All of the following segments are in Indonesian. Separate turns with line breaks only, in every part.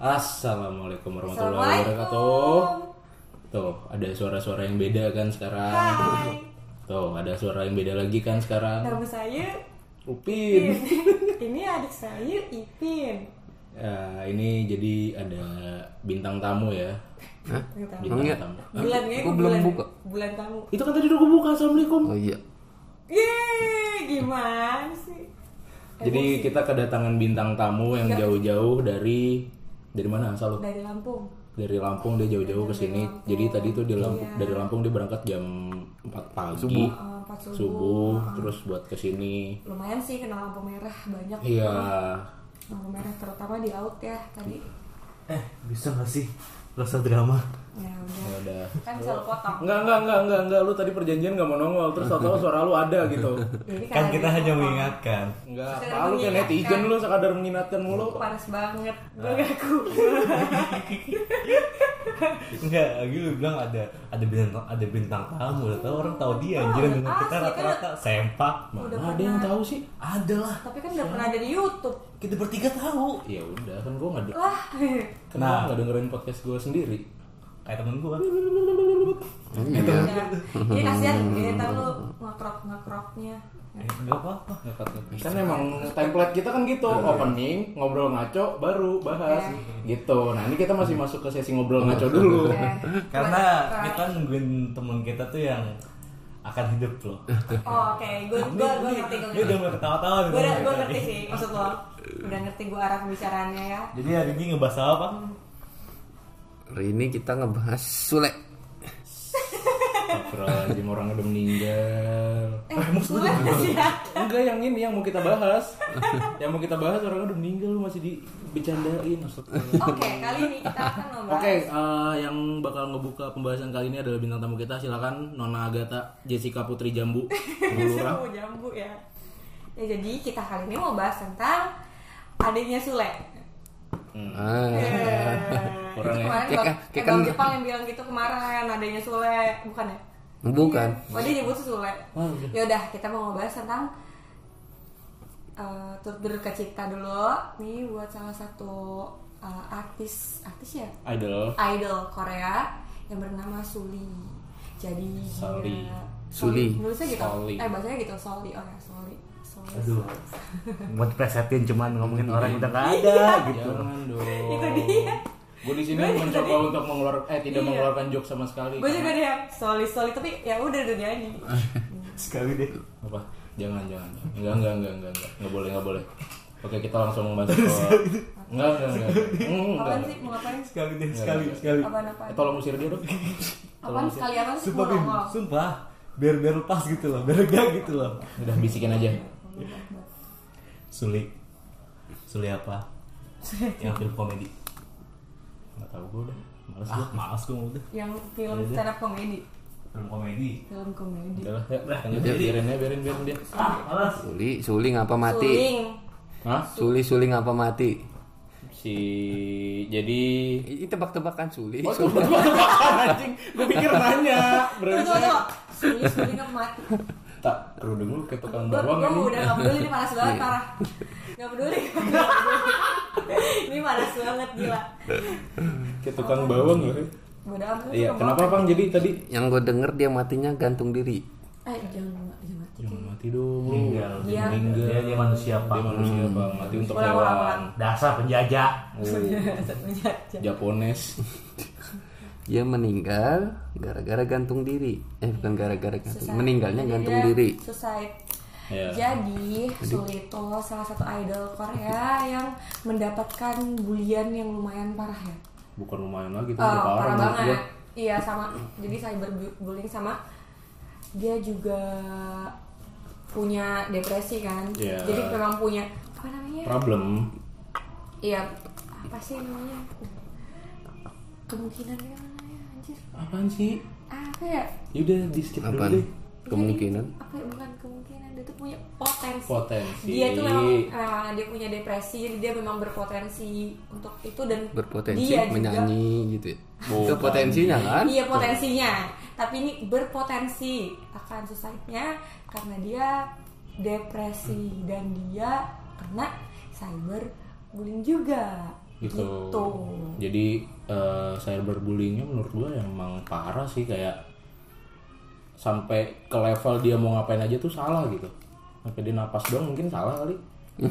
Assalamualaikum warahmatullahi wabarakatuh. Tuh, ada suara-suara yang beda kan sekarang.
Hai,
Tuh, ada suara yang beda lagi kan sekarang.
nama saya
Upin.
ini adik saya Ipin.
Ya, ini jadi ada bintang tamu ya.
Hah?
Ternyata.
Bintang
Emangnya?
tamu.
Bulan ya,
Gua
gua
belum
bulan,
buka.
Bulan tamu.
Itu kan tadi udah gue buka. Assalamualaikum.
Oh iya.
Yeay, gimana sih?
Jadi kita kedatangan bintang tamu yang jauh-jauh dari dari mana asal lu?
Dari Lampung.
Dari Lampung dia jauh-jauh ke sini. Jadi tadi tuh di Lampung, dari Lampung dia berangkat jam 4 pagi. Subuh.
Eh, Pas subuh.
terus buat ke sini.
Lumayan sih kenal lampu merah banyak.
Iya.
Lampu merah terutama di laut ya tadi.
Eh, bisa gak sih? Rasa drama.
Ya udah.
Ya udah.
Kan selalu potong.
Enggak, enggak, enggak, enggak, enggak. Lu tadi perjanjian gak mau nongol, terus tahu suara lu ada gitu.
Jadi
Kan kita
kalian
hanya
potong.
mengingatkan.
Enggak, apa
Sekedar
lu kayak
mengingatkan.
netizen lu sekadar mengingatkan mulu.
Panas banget. Gue gaku.
Enggak, lagi lu bilang ada ada bintang ada bintang tamu, udah tahu orang tahu dia anjir dengan kita
asli, kan?
rata-rata sempak.
Mana ada yang tahu sih?
Ada lah.
Tapi kan udah pernah ada di YouTube.
Kita bertiga tahu.
Ya udah, kan gua enggak
Lah.
Kenapa nggak dengerin podcast gue sendiri?
Kayak temen gua.
Gitu.
Iya. Jadi kasihan ya, ntar lu ngakrok-ngakroknya.
Eh, enggak apa-apa.
Kan emang template kita kan gitu, opening, ngobrol ngaco, baru bahas
Iya.
gitu. Nah ini kita masih masuk ke sesi ngobrol ngaco dulu.
Eh,
Iya. Karena gitu. kita nungguin temen kita tuh yang akan hidup loh.
Oh, oke, gue gue gue ngerti gue
Dia udah mulai ketawa-tawa gitu.
gue udah gue ngerti sih maksud lo udah ngerti gue arah pembicaraannya ya
Jadi hari ini ngebahas apa?
Hari ini kita ngebahas Sule.
Astagfirullahaladzim orang udah meninggal.
eh mulai sih ya
Enggak yang ini yang mau kita bahas. Yang mau kita bahas orang udah meninggal lu masih dibecandain. Astagfirullah.
oke kali ini kita akan
Oke,
ngobrol
eh, yang bakal ngebuka pembahasan kali ini adalah bintang tamu kita. Silakan Nona Agatha Jessica Putri Jambu. Bulurah.
semua jambu ya ya jadi kita kali ini mau bahas tentang adiknya Sule
Ah,
Iya.
Eh, itu
ya.
Orangnya.
kemarin Bang-
Kayak- kayak
eh, Bang
kan-
Jepang yang bilang gitu kemarin adanya Sule bukan ya
bukan. Oh, iya.
Oh dia nyebut Sule. Yaudah kita mau ngebahas tentang eh turut berduka cita dulu. Nih buat salah satu eh, artis artis ya
Idol.
idol Korea yang bernama Suli. Jadi dia-
Soli.
Suli.
Nulisnya gitu.
Soli.
Eh bahasanya gitu Soli. Oh ya Soli. Soli.
Aduh. Mau dipresetin cuman ngomongin orang yang udah gak
Iya.
ada gitu.
Jangan dong.
Itu dia.
Gue di sini mencoba untuk mengeluarkan eh tidak
Iya.
mengeluarkan joke sama sekali.
Gue juga dia Soli Soli tapi ya udah udah nyanyi.
Sekali deh.
apa jangan jangan enggak enggak enggak enggak enggak nggak boleh nggak boleh oke kita langsung masuk ke enggak enggak enggak Hmm, enggak
Apaan sih mau ngapain?
Sekali deh, sekali, sekali.
Apaan apaan?
Eh, tolong usir dia dong
Apaan sekali apa sih?
Sumpah,
Mau
Bim,
ngomong.
sumpah. Biar biar lepas gitu loh, biar enggak gitu loh.
udah bisikin aja
Suli. Suli apa? Yang film komedi.
nggak tahu gue udah males gue
Ah, malas gue udah.
Yang film stand up komedi.
Film komedi.
Film komedi.
udah lah ya udah biarin ya biarin biarin dia
Malas.
Suli, Suli ngapa mati?
Suling.
Hah?
Suli, Suli ngapa mati?
si jadi
Ini tebak-tebakan Suli.
Oh,
Suli.
tebak tebakan anjing. Gue pikir nanya.
Tunggu,
Berarti
tunggu, tunggu. Suling, suling apa mati?
tak kerudung lu kayak tukang
Gue
bawang ini.
udah gak peduli, ini panas banget, parah. Gak peduli. ini panas banget, gila.
Kayak tukang bawang ya.
Bodoh amat.
Iya, kenapa Bang? Jadi tadi
Yang gue denger dia matinya gantung diri.
Eh, jangan, jangan mati.
Jangan mati dong.
Dia.
meninggal.
Dia, dia manusia, Pak.
Dia manusia, Bang. Mati untuk
Ulang, ulang,
hewan.
ulang.
Dasar penjajah.
Japones.
Dia meninggal gara-gara gantung diri. Eh, bukan gara-gara gantung.
Susah.
Meninggalnya
Jadi
gantung
dia
diri.
Suicide.
Iya.
Jadi Suli itu salah satu idol Korea yang mendapatkan bulian yang lumayan parah ya.
Bukan lumayan lagi tuh,
Oh,
udah
parah
menurut
banget.
gua.
Iya sama. Jadi cyberbullying sama dia juga punya depresi kan.
Iya.
Jadi memang punya apa namanya?
Problem.
Iya apa sih namanya? Kemungkinan dia namanya anjir.
Apaan sih?
Apa ya?
Yaudah di skip dulu
Apaan?
Iya.
deh.
Kemungkinan.
Apa ya? Bukan kemungkinan dia tuh punya potensi.
Potensi.
Dia tuh memang eh, dia punya depresi. Jadi dia memang berpotensi untuk itu dan
Berpotensi
dia Iya juga-
menyanyi gitu ya. Itu
Bukan.
potensinya kan?
Iya potensinya, tapi ini berpotensi akan susahnya karena dia depresi dan dia kena cyber bullying juga.
gitu.
Gitu.
Jadi eh, cyberbullyingnya menurut gue emang parah sih kayak sampai ke level dia mau ngapain aja tuh salah gitu. Sampai dia napas doang mungkin salah kali.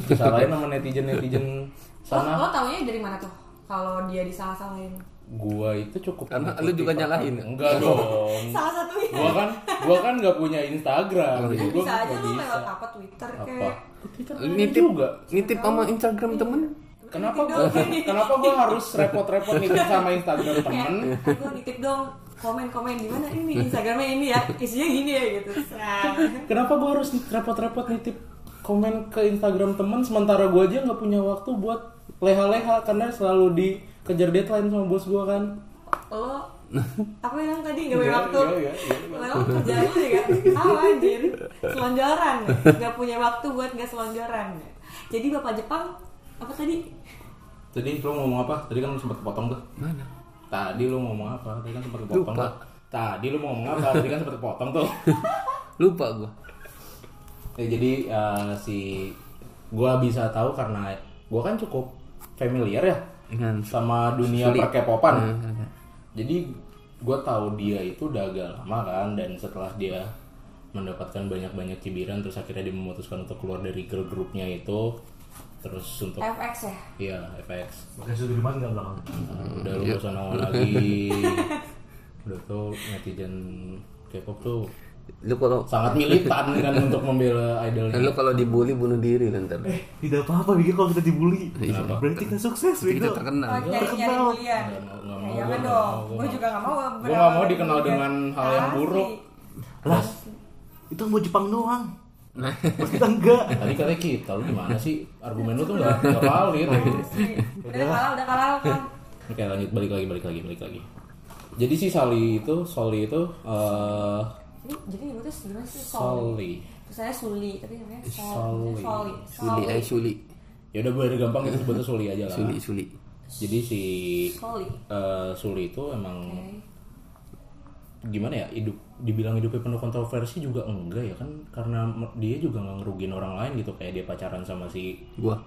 Disalahin sama netizen-netizen sana.
Lo, lo taunya dari mana tuh? Kalau dia disalah-salahin
gua itu cukup
Karena
mengikuti
lu juga
perkembangan.
nyalahin. ya?
enggak dong
Salah satunya
gua kan gua kan nggak punya Instagram
Oh, iya.
jadi gua
Bisa aja
nggak
lo
bisa.
lewat kan apa Twitter
apa
kayak
Twitter
nitip
juga
nitip sama Instagram temen
Iya.
kenapa gua kenapa gua harus repot-repot nitip sama Instagram temen
Gue nitip dong komen-komen di mana ini Instagramnya ini ya isinya gini ya gitu. Nah,
kenapa gua harus repot-repot nitip komen ke Instagram temen sementara gua aja nggak punya waktu buat leha-leha karena selalu dikejar deadline sama bos gua kan
Lo apa bilang tadi nggak punya
Iya,
waktu?
iya, iya, iya.
Lo kerjaan lu juga tahu anjir selonjoran nggak punya waktu buat nggak selonjoran. Jadi bapak Jepang apa tadi?
tadi lu ngomong apa tadi kan lu sempat kepotong tuh
mana
tadi lu ngomong apa tadi kan sempat kepotong
Lupa.
tuh tadi lu mau ngomong apa tadi kan sempat kepotong tuh
lupa gua
ya jadi eh, si gua bisa tahu karena gua kan cukup familiar ya
dengan
sama dunia perkepopan jadi gua tahu dia itu udah agak lama kan dan setelah dia mendapatkan banyak-banyak cibiran terus akhirnya dia memutuskan untuk keluar dari girl grupnya itu terus untuk
FX ya.
iya FX
Makanya Sudirman nggak belakang.
udah lu gak usah nongol lagi udah tuh netizen K-pop tuh
lu kalau
sangat militan kan untuk membela idolnya
lu kalau dibully bunuh diri lu ntar
Eh, Tidak apa-apa mikir kalau kita dibully.
Kenapa?
Berarti Iya, kita sukses
kita
bego.
Oh,
terkenal
nyari-nyari
Terkenal.
kuliah.
Nah, Nggak mau- nggak
Ya,
mau,
jangan
gua nggak
dong.
mau, gua
Gue juga nggak mau.
Gua nggak mau dikenal dengan hal yang buruk.
Lah, itu mau Jepang doang. Mas kita enggak.
Tadi katanya kita, lu gimana sih? Argumen lu tuh gak, gak valid
Udah kalah, udah kalah.
Iya.
Kang.
Oke lanjut, balik lagi, balik lagi, balik lagi Jadi si Sally itu, Sally itu eh
Ini jadi nyebutnya sebenarnya sih Sol.
Sally
Terus saya Suli, tapi namanya Sol.
Soli.
Soli.
suli eh suli
Ya udah biar gampang itu sebutnya Suli aja lah
suli suli
Jadi si
Soli.
eh, Suli itu emang
Oke.
gimana ya hidup dibilang hidupnya penuh kontroversi juga enggak ya kan karena me- dia juga nggak ngerugiin orang lain gitu kayak dia pacaran sama si
gua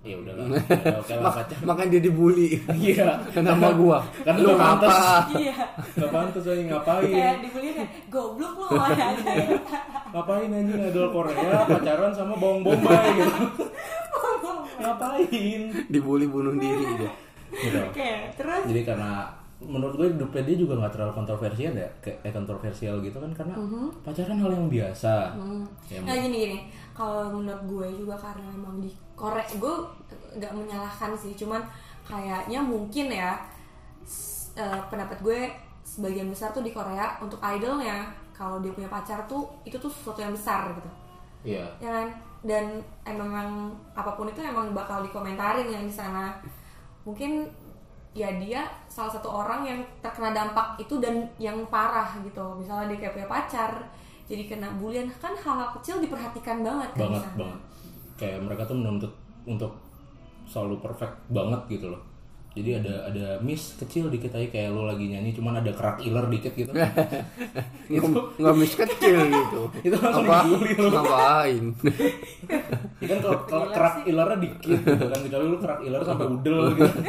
ya udahlah ya, oke lah pacar
makanya dia dibully
iya
nama gua
Kan lu
lu
pantes.
apa
Iya.
nggak pantas aja ngapain
Kayak dibully kan, goblok lu gitu. ada.
ngapain anjing idol Korea pacaran sama bawang bombay gitu ngapain
dibully bunuh diri dia
gitu
Oke, terus
jadi karena menurut gue hidupnya dia juga nggak terlalu kontroversial ya kayak eh, kontroversial gitu kan karena pacaran hal yang biasa ya,
Nah gini gini, kalau menurut gue juga karena emang di Korea gue nggak menyalahkan sih, cuman kayaknya mungkin ya s- eh, pendapat gue sebagian besar tuh di Korea untuk idolnya kalau dia punya pacar tuh itu tuh sesuatu yang besar gitu,
iya
ya kan? Dan emang, emang apapun itu emang bakal dikomentarin yang di sana. Mungkin ya dia salah satu orang yang terkena dampak itu dan yang parah gitu. Misalnya dia kayak punya pacar, jadi kena bulian kan hal-hal kecil diperhatikan banget kan di
banget
sana.
banget kayak mereka tuh menuntut untuk selalu perfect banget gitu loh jadi ada ada miss kecil dikit aja kayak lo lagi nyanyi cuman ada kerak iler dikit gitu
Ngom- ngomis kecil gitu
Itu langsung
apa
dibully lu.
ngapain
Ya kan kalau kalau
Iya
kerak ilernya dikit gitu kan kecuali lo kerak iler sampai udel gitu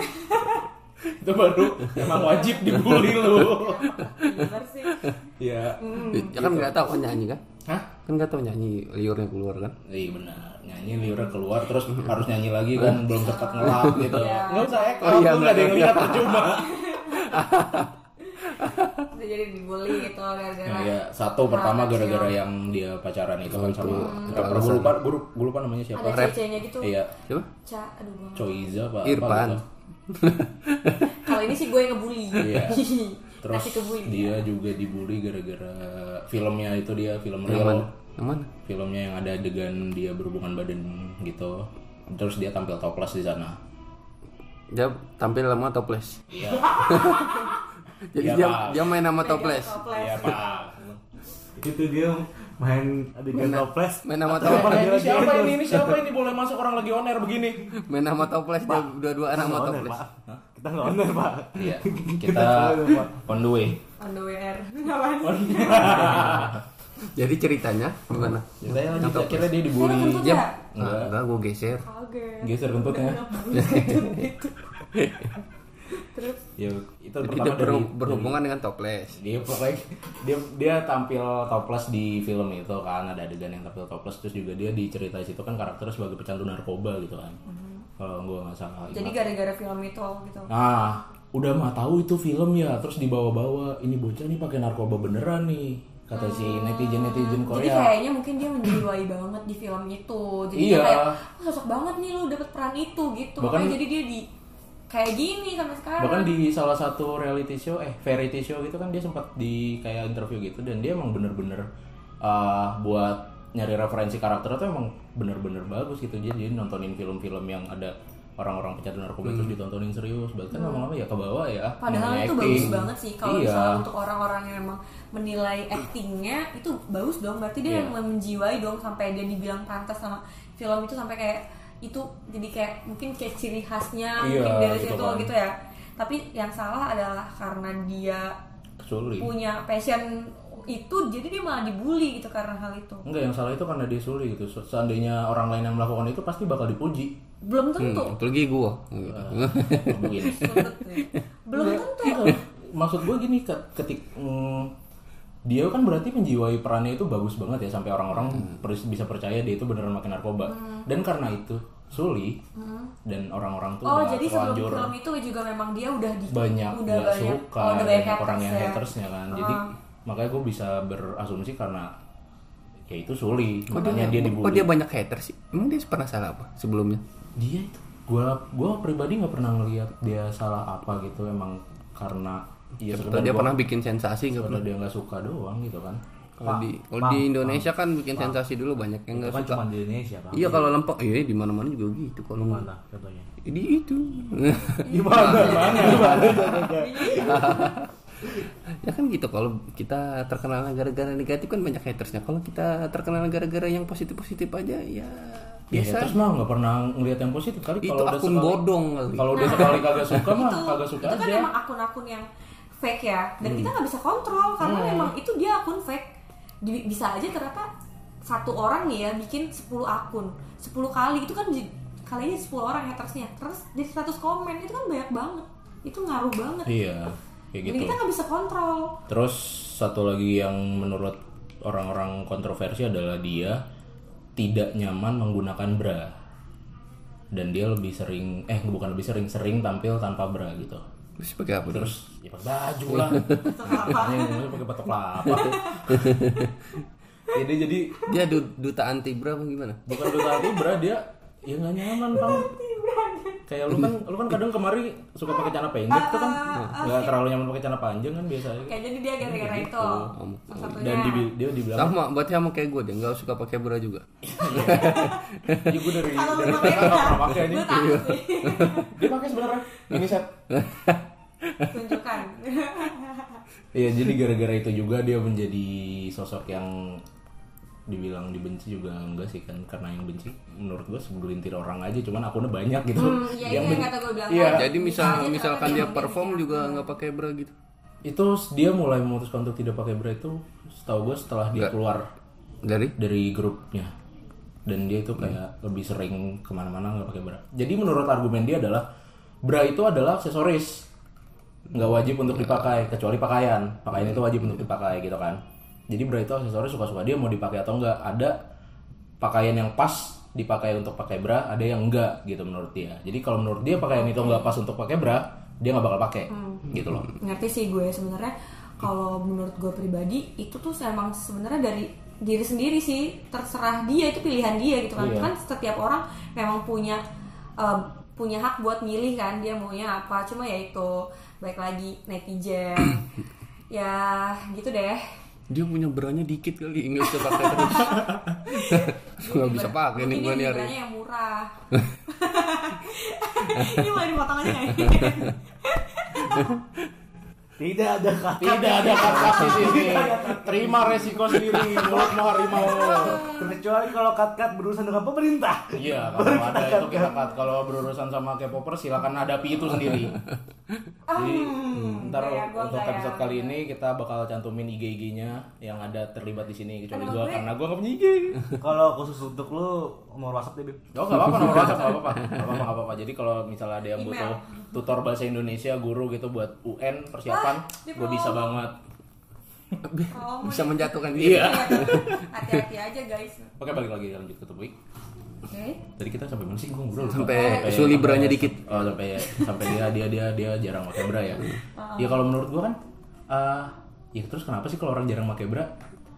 itu baru emang wajib dibully lo
Iya, Bener sih.
ya
Hmm.
ya kan nggak tahu kan nyanyi kan
hah
kan nggak tahu nyanyi liurnya keluar kan
Iya benar, nyanyi liurnya keluar terus harus nyanyi lagi kan belum sempat ngelap gitu.
Iya.
Nggak usah ekor,
Oh, iya,
lu nggak ada yang
benar.
lihat percuma.
Dia jadi dibully itu gara-gara.
Nah, ya, satu
hal
pertama
kecil.
gara-gara yang dia pacaran itu kan sama
itu
rapper gue lupa gue lupa- gue lupa namanya siapa.
Hmm. Ada cece-nya gitu.
Iya,
coba
Ca, aduh gua-
Coiza apa apa
Irfan
gitu.
Kalau ini sih gue yang ngebully.
Iya. Terus
Nasi ya? kebuli.
dia juga dibully gara-gara filmnya itu dia film
yang mana
real.
yang mana
Filmnya yang ada adegan dia berhubungan badan gitu. Terus dia tampil toples di sana.
dia tampil sama toples
Iya. Iya,
jadi dia,
Pak.
dia main sama toples
Iya, Pak.
Itu dia main adegan toples.
main sama
Apa
toples
ini siapa ini? Ini siapa ini boleh masuk orang lagi on air begini?
main sama toples dia dua-duaan sama
Nggak honor,
toples
Pak. Kita nggak honor, Pak.
Iya, kita on the way.
On the way air. Apaan sih?
jadi ceritanya gimana
Saya lanjut akhirnya dia
Lu
dibully.
kentut ya?
Dia
Ya,
nggak?
Enggak, Ah, enggak gue geser.
kaget
Geser kentut ya.
gitu terus
Ya, itu
Jadi
pertama
dia
dari
berhu- berhubungan dengan toples.
dia pokoknya dia dia tampil topless di film itu kan ada adegan yang tampil topless terus juga dia diceritain situ kan karakternya sebagai pecandu narkoba gitu kan kalau gue nggak salah ingat.
jadi gara-gara film itu gitu
Nah, udah mah tahu itu film ya, terus dibawa-bawa. Ini bocah nih pakai narkoba beneran nih, kata si netizen netizen
Oh. Jadi
Korea.
kayaknya mungkin dia menjiwai banget di film itu. Jadi
Iya.
dia kayak "Wah, cocok banget nih lu dapet peran itu gitu.
Bahkan-
Makanya jadi dia di kayak gini sampai sekarang.
Bahkan di salah satu reality show, eh variety show gitu kan dia sempat di kayak interview gitu dan dia emang bener-bener uh, buat nyari referensi karakter tuh emang bener-bener bagus gitu. Jadi dia nontonin film-film yang ada orang-orang pecandu narkoba terus ditontonin serius. Bahkan lama-lama ya ke bawah ya.
Hmm. Padahal
namanya
itu
acting.
bagus banget sih kalau
iya.
misalnya untuk orang-orang yang emang menilai actingnya itu bagus dong. Berarti
Iya.
dia yang menjiwai dong sampai dia dibilang pantas sama film itu sampai kayak itu jadi kayak mungkin kayak ciri khasnya
Iya,
mungkin dari
gitu
situ
kan.
gitu ya. Tapi yang salah adalah karena dia
Kesulit.
punya passion itu jadi dia malah dibully gitu karena hal itu
Enggak, yang salah itu karena dia sulit gitu. Se- Seandainya orang lain yang melakukan itu pasti bakal dipuji.
belum tentu
Hmm.
Apalagi gue.
Ah, Begini.
belum
Nah,
tentu
Maksud gue gini, ke- ketik mm, dia kan berarti menjiwai perannya itu bagus banget ya sampai orang-orang per- bisa percaya dia itu beneran makin narkoba.
Hmm.
Dan karena itu Suli dan orang-orang tuh
oh
udah
jadi sebelum
terlanjur
film itu juga memang dia udah di
banyak
udah
nggak
banyak
suka
oh, udah banyak,
banyak orang yang
haters ya.
hatersnya kan. Jadi makanya gue bisa berasumsi karena ya itu Suli makanya dia dibully.
Kok dia banyak hater sih? Emang dia pernah salah apa sebelumnya?
dia itu gua gua pribadi nggak pernah ngelihat dia salah apa gitu emang karena ya
Atau
sekedar
dia
gua-
pernah bikin sensasi nggak?
karena dia nggak suka doang gitu kan
Kalau di kalau di Indonesia kan bikin sensasi dulu banyak yang nggak
kan
suka.
cuma di Indonesia pak
Iya kalau lempeng, iya di mana-mana juga gitu kalau
mana contohnya
di itu.
gimana gimana
ya kan gitu kalau kita terkenal gara-gara negatif kan banyak hatersnya. Kalau kita terkenal gara-gara yang positif-positif aja ya
biasa
biasa.
terus mah nggak pernah ngelihat yang positif kali
itu
kalau udah
akun
sekali
bodong kali.
kalau udah sekali kagak suka mah
itu,
kagak suka
itu kan
aja Hmm.
emang akun-akun yang fake ya dan kita nggak bisa kontrol karena memang itu dia akun fake Di- bisa aja ternyata satu orang nih ya bikin 10 akun 10 kali itu kan di- kalinya 10 orang hatersnya terus di 100 komen itu kan banyak banget itu ngaruh banget
iya kayak
jadi
gitu
kita nggak bisa kontrol
terus satu lagi yang menurut orang-orang kontroversi adalah dia tidak nyaman menggunakan bra dan dia lebih sering eh bukan lebih sering sering tampil tanpa bra gitu
Terus Iya, pakai apa terus?
terus ya pakai baju lah Anjing, lu pakai batok kelapa jadi jadi
Dia du- duta anti bra apa gimana?
bukan duta tibra dia ya nggak nyaman bang kayak lu kan lu kan kadang kemari suka pakai celana pendek tuh kan nggak terlalu nyaman pakai celana panjang kan biasanya
Kayak jadi dia gara-gara itu. Salah satunya.
gitu. dan dibi- dia dibilang
Sama, berarti sama kayak gue dia nggak suka pakai bra juga.
ya gue dari
Kalau lu
dari
pakai
kakak nggak pernah pakai
enggak,
ini Iya.
gue takut sih.
dia pakai sebenarnya ini set
Tunjukkan.
Iya jadi gara-gara itu juga dia menjadi sosok yang dibilang dibenci juga enggak sih kan karena yang benci menurut gue segelintir orang aja cuman akunnya banyak gitu
Hmm,
Yang
ya itu yang
ben-
kata gue bilang.
Iya.
tadi.
Jadi misal
Misalnya
misalkan
ternyata
dia
yang
perform
begini.
juga nggak pakai bra gitu.
itu dia mulai memutuskan untuk tidak pakai bra itu setahu gue setelah dia keluar
Dari
dari grupnya dan dia itu kayak lebih sering kemana-mana nggak pakai bra jadi menurut argumen dia adalah bra itu adalah aksesoris nggak wajib untuk dipakai kecuali pakaian pakaian itu wajib untuk dipakai gitu kan jadi bra itu aksesoris suka-suka dia mau dipakai atau enggak ada pakaian yang pas dipakai untuk pakai bra ada yang enggak gitu menurut dia jadi kalau menurut dia pakaian itu enggak pas untuk pakai bra dia nggak bakal pakai gitu loh
Ngerti sih gue sebenarnya kalau menurut gue pribadi itu tuh emang sebenarnya dari diri sendiri sih terserah dia itu pilihan dia gitu kan
Iya.
kan setiap orang memang punya eh, punya hak buat milih kan dia maunya apa cuma ya itu baik lagi netizen ya gitu deh
dia punya branya dikit kali nggak bisa pakai terus. Nggak bisa pakai nih gue nih hari.
Mungkin yang murah. ini boleh dipotong aja nggak?
Tidak ada kata
Tidak ada kata di sini. Terima resiko sendiri mulutmu harimau.
kecuali kalau kat-kat berurusan dengan pemerintah.
Iya, kalau ada itu kita cut. Kalau berurusan sama K-popers silakan hadapi itu sendiri. Jadi
Hmm,
ntar
gaya gua, gitu.
untuk
gaya.
episode kali ini kita bakal cantumin IG-IG-nya yang ada terlibat di sini kecuali
Kalau
gua
gue-
karena gua nggak punya IG.
Kalau khusus untuk lu nomor WhatsApp deh, Bib.
Oh nggak apa-apa, nomor WhatsApp nggak apa-apa, nggak apa-apa, nggak apa-apa. Jadi kalau misalnya ada yang
Email.
butuh tutor bahasa Indonesia, guru gitu buat UN persiapan,
Ah, di
gua bisa
promo.
banget.
Oh,
bisa
mau-
menjatuhkan diri.
Iya.
Hati-hati aja guys.
Oke balik lagi lanjut ke topik.
Oke.
Tadi kita sampai mana sih? Gua ngobrol.
Sampai usul libranya
sampai-
dikit.
Oh, sampai sampai dia dia dia dia jarang pakai bra ya. Ya kalau menurut gua kan eh, ya terus kenapa sih kalau orang jarang pakai bra?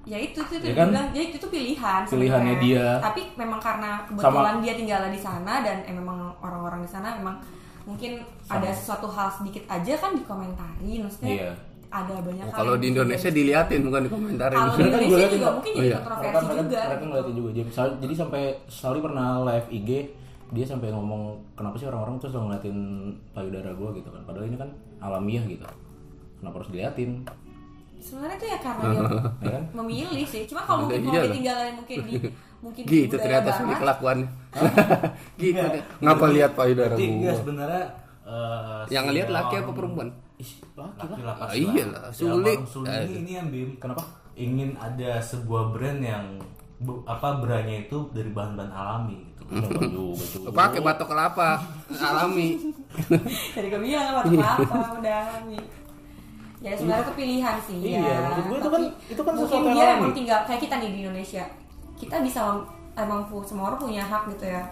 Ya itu itu, itu
Ya kan?
dibilang, ya itu tuh pilihan.
Pilihannya dia.
sebenarnya. Tapi memang karena kebetulan dia tinggal di sana dan eh, memang orang-orang di sana memang mungkin ada sesuatu hal sedikit aja kan dikomentarin maksudnya.
Iya.
Ada banyak
Oh,
hal yang
kalau di
bisa
Indonesia
jadi-
diliatin bukan dikomentarin.
Kalau di
Sebenarnya kan gua
Indonesia
liatin,
juga
Pak.
mungkin ya,
Oh,
jadi
iya.
kontroversi
mereka,
juga.
mereka ngeliatin juga jadi, misal- jadi sampai Sally pernah live IG dia sampai ngomong kenapa sih orang-orang tuh selalu ngeliatin payudara gue gitu kan padahal ini kan alamiah gitu kenapa harus diliatin
Sebenarnya tuh ya karena dia
ya kan
memilih sih. Cuma kalau mungkin
Iya
kalau
loh.
ditinggalin mungkin di mungkin di ya,
Gitu
budaya
ternyata
barat,
sih kelakuannya. gitu. deh. Ngapa lihat payudara
Berarti enggak
gua?
sebenarnya eh,
Yang
si
ngelihat laki
orang-
apa perempuan?
Ih, laki lah.
Laki-laki
Ah, iyalah, sulit. Eh,
Sulit ini yang Bim. Kenapa? Ingin ada sebuah brand yang bu- apa brandnya itu dari bahan-bahan alami gitu.
Coba juga, coba.
Pakai batok kelapa alami.
Tadi gue bilang apa
Iya.
apa udah Mi. Ya sebenarnya itu pilihan sih ya.
Iya, maksud gue itu kan-
Tapi
itu kan
mungkin
sesuatu yang
dia
alami.
emang tinggal kayak kita nih di Indonesia. Kita bisa mem- emang pu- semua orang punya hak gitu ya.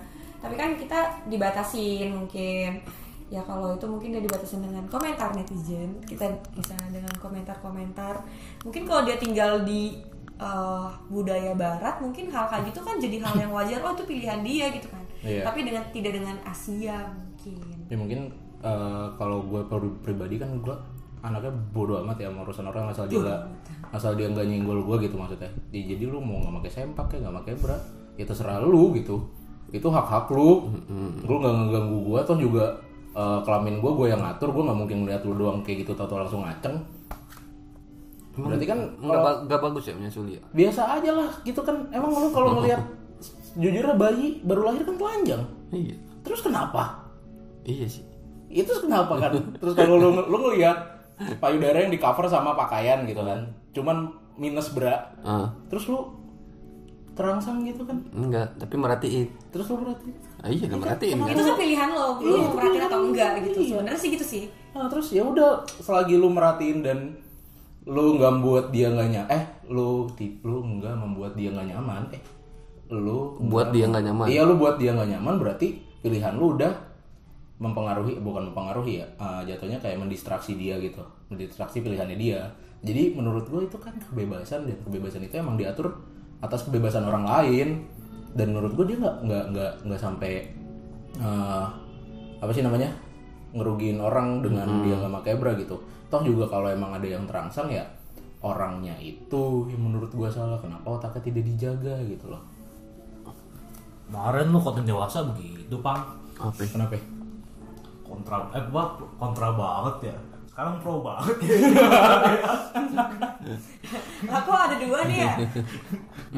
Tapi kan kita dibatasin mungkin. Ya kalau itu mungkin dia dibatasin dengan komentar netizen. Kita bisa dengan komentar-komentar. Mungkin kalau dia tinggal di eh, budaya barat mungkin hal kayak gitu kan jadi hal yang wajar. Oh itu pilihan dia gitu kan.
Iya.
Tapi dengan tidak dengan Asia mungkin.
ya mungkin eh, kalau gue per- pribadi kan gue anaknya bodoh amat ya sama urusan orang asal dia nggak asal dia nggak nyenggol gue gitu maksudnya Ya, jadi lu mau nggak pakai sempak ya nggak pakai bra ya terserah lu gitu itu hak hak lu lu nggak ngeganggu gue toh juga eh, kelamin gue gue yang ngatur gue nggak mungkin ngeliat lu doang kayak gitu tau langsung ngaceng berarti kan
Enggak ba- enggak bagus ya menyusui ya.
biasa aja lah gitu kan emang lu kalau ngeliat jujurnya bayi baru lahir kan telanjang
Iya.
terus kenapa
Iya sih.
itu kenapa kan terus kalau lu lu ngeliat payudara yang di cover sama pakaian gitu kan cuman minus bra
Ah,
terus lu terangsang gitu kan
enggak, tapi merhatiin.
terus lu berarti
Ah, iya, enggak merhatiin.
itu kan pilihan lo
Iya,
lu
itu
mau perhatiin atau
pilihan
enggak
lo,
gitu
iya.
sebenarnya sih gitu sih
nah, terus ya udah selagi lu merhatiin dan lu nggak membuat dia nggak nyaman eh lu tip lu nggak membuat dia nggak nyaman eh lu
Buat dia nggak nyaman.
Iya lu buat dia nggak nyaman berarti pilihan lu udah mempengaruhi bukan mempengaruhi ya eh, jatuhnya kayak mendistraksi dia gitu mendistraksi pilihannya dia jadi menurut gue itu kan kebebasan dan kebebasan itu emang diatur atas kebebasan orang lain dan menurut gue dia nggak nggak nggak nggak sampai eh, apa sih namanya ngerugiin orang dengan dia nggak pakai bra gitu toh juga kalau emang ada yang terangsang ya orangnya itu yang menurut gue salah kenapa otaknya tidak dijaga gitu loh
Kemarin lu konten dewasa begitu, Pang.
Apa? ya?
kenapa ya?
Kontra eh gua kontra banget ya. Sekarang pro banget ya.
aku ada dua nih ya
Gitu.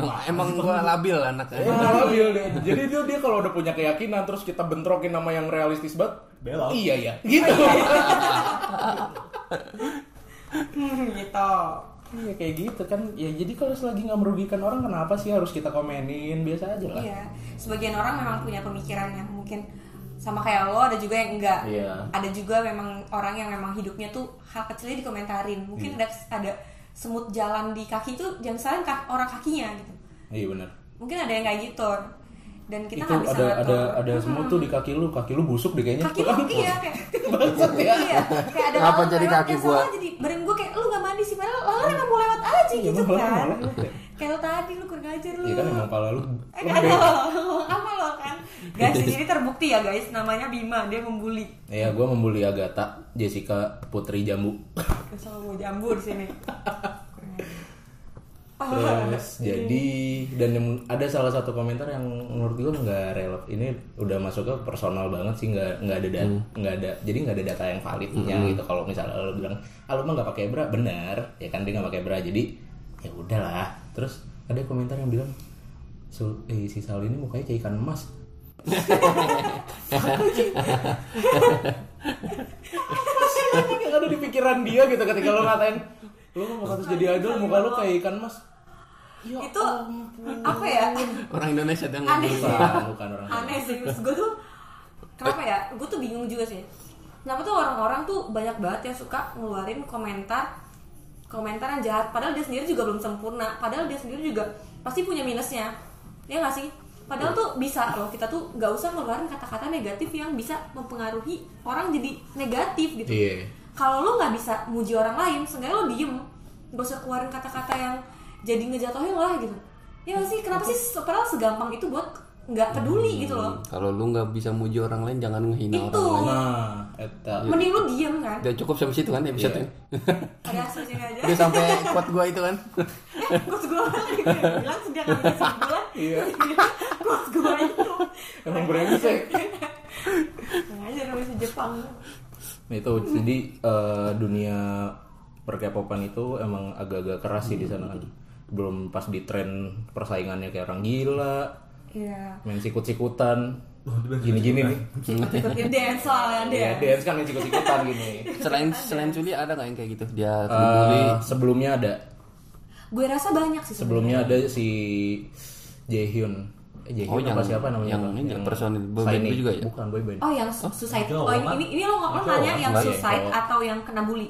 Emang, emang gua labil anaknya.
Iya.
Nah, labil dia. Jadi dia dia kalau udah punya keyakinan terus kita bentrokin nama yang realistis banget.
Belok.
Iya ya. Gitu.
Hmm, gitu
Iya kayak gitu kan. Ya jadi kalau selagi nggak merugikan orang kenapa sih harus kita komenin biasa aja lah.
iya sebagian orang memang punya pemikiran yang mungkin sama kayak lo ada juga yang enggak
Iya.
ada juga memang orang yang memang hidupnya tuh hal kecilnya dikomentarin mungkin
Iya.
ada ada semut jalan di kaki tuh jangan salahin kak- orang kakinya gitu
Iya benar.
mungkin ada yang kayak gitu dan kita
Itu
nggak bisa
ada ada
ngatur.
ada semut tuh di kaki lu, kaki lu busuk deh kayaknya.
kaki
Itu
lu
kan
iya kayak
ya.
iya kayak ada
Kenapa
lalat
jadi
lewat,
kaki
yang
gua?
salah jadi badan gua kayak lu gak mandi sih padahal lalat emang mau lewat aja
Iya,
gitu
emang lalat
kan
mau lewat ya.
kayak lu tadi lu kurang ajar lu
Iya kan emang pala lu.
eh kan lo ngomong apa lo kan guys di sini terbukti ya guys namanya Bima dia membuli
Iya, gua membuli Agatha, Jessica Putri Jambu.
sama mau jambu di sini Kurang ajar. ya?
terus jadi dan yang ada salah satu komentar yang menurut gue nggak relap ini udah masuk ke personal banget sih nggak nggak ada data nggak ada jadi nggak ada data yang validnya gitu kalau misalnya lo bilang ah lo mah nggak pakai bra benar ya kan dia nggak pakai bra jadi ya udahlah terus ada komentar yang bilang "Sul- eh, si Sal ini mukanya kayak ikan emas yang ada di pikiran dia gitu ketika lo ngatain lo mau harus jadi idol muka lo kayak ikan mas ya
itu apa ya
Orang Indonesia tuh yang
Aneh.
ngomong.
bukan bukan orang
aneh sih gue tuh kenapa ya gue tuh bingung juga sih kenapa tuh orang-orang tuh banyak banget yang suka ngeluarin komentar komentar yang jahat padahal dia sendiri juga belum sempurna padahal dia sendiri juga pasti punya minusnya ya nggak sih padahal tuh bisa loh kita tuh nggak usah ngeluarin kata-kata negatif yang bisa mempengaruhi orang jadi negatif gitu
Iya.
kalau lo nggak bisa muji orang lain seenggaknya lo diem gak usah keluarin kata-kata yang jadi ngejatuhin lah gitu ya nggak sih kenapa sih se- padahal segampang itu buat nggak peduli gitu loh
Kalau lu nggak bisa muji orang lain, jangan ngehina
Itu.
orang lain.
nah eta
mending lo diem kan
Iya, Udah cukup sampai situ kan episode-nya.
ada aslinya aja
Udah sampai kuat gua itu kan.
eh kos gue bilang sudah nggak bisa sebulan
Iya.
kos gue itu
Emang brengsek.
aja namanya Jepang Iya.
Nah, itu jadi eh, dunia perkepopan itu emang agak-agak keras sih di sana kan belum pas di tren persaingannya kayak orang gila
iya
main sikut-sikutan gini-gini nih
ikut dance soalnya
ya
dance
dance kan main sikut-sikutan gini
Selain selain Suli ada nggak yang kayak gitu? Dia dibully.
Eh, sebelumnya ada
gue rasa banyak sih sebenarnya.
Sebelumnya ada si Jaehyun. Eh, Jaehyun
Oh,
apa
yang-
siapa namanya?
yang ini personil boy band
Shiny.
itu juga ya?
Bukan boyband.
oh yang su- suicide
Jawa,
oh ini
Mak.
ini, ini lo nggak lo
Jawa,
nanya yang
enggak ya,
suicide
Jawa.
atau yang kena bully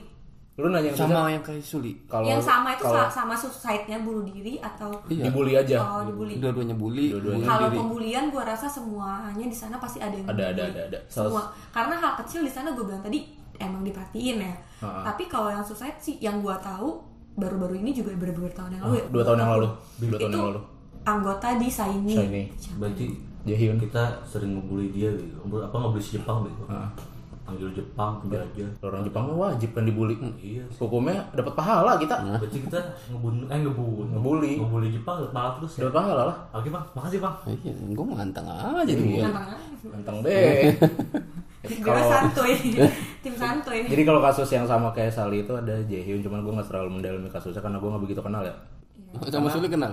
Lu nanya yang
Sama yang kayak Suli.
Kalau
yang sama itu
kalau
sa- sama suicide-nya bunuh diri atau
Iya.
dibully aja.
oh dibully.
Dua-duanya bully,
Dua-duanya.
bunuh
Kalau
diri.
pembulian gua rasa semuanya di sana pasti ada yang
Ada, ada,
dibully.
ada, ada. Salah-
Semua. Karena hal kecil di sana gue bilang tadi emang diperhatiin ya.
Ha-ha.
Tapi kalau yang suicide sih yang gua tahu baru-baru ini juga beberapa tahun yang lalu. ya.
Ah, Dua tahun yang lalu. Dua tahun
Itu
yang lalu.
anggota di Saini.
Shiny.
berarti
Jaehyun.
kita sering ngebully dia gitu Ngebully- apa ngebully si Jepang gitu
Ah.
panggil Jepang
Iya.
kerja aja
Orang Jepang mah wajib kan dibully.
iya sih.
Hukumnya dapat pahala kita.
berarti kita ngebunuh eh ngebunuh
Ngebully.
ngebully Jepang malah terus ya
Dapat pahala lah.
oke bang makasih bang
Iya, gua ngantang aja dulu.
Antara-
Tentang deh.
Gua
Kalau
santuy. Tim santuy.
jadi kalau kasus yang sama kayak Sali itu ada Jaehyun, cuman gue nggak terlalu mendalami kasusnya karena gue nggak begitu kenal ya.
Sama Suli kenal?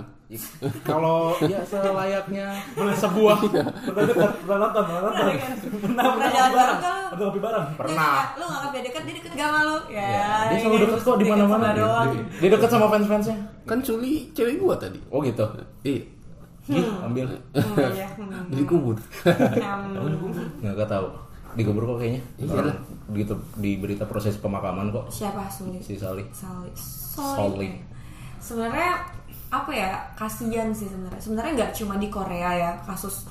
kalau ya selayaknya sebuah
pernah dekat pernah nonton pernah nonton pernah
Pernah jalan bareng kan?
pernah ngopi bareng
pernah.
Iya,
Iya.
Lu nggak dia deket, dia deket gak sama lu Ya,
Dia
ini
selalu deket kok di
deket
mana-mana. Iya.
sama doang.
Dia- Dia deket sama fans-fansnya.
Kan Suli cewek gua tadi.
Oh gitu.
Iya,
Gih, ambil.
Hmm, iya. Hmm.
dikubur.
Hmm.
Nggak gak tahu. Digubur kok kayaknya.
Iya
Iyalah. Gitu di berita proses pemakaman kok
Siapa sulit?
si Sali.
Soli.
Soli.
Soli. Sebenarnya apa ya? Kasihan sih sebenarnya. Sebenarnya nggak cuma di Korea ya kasus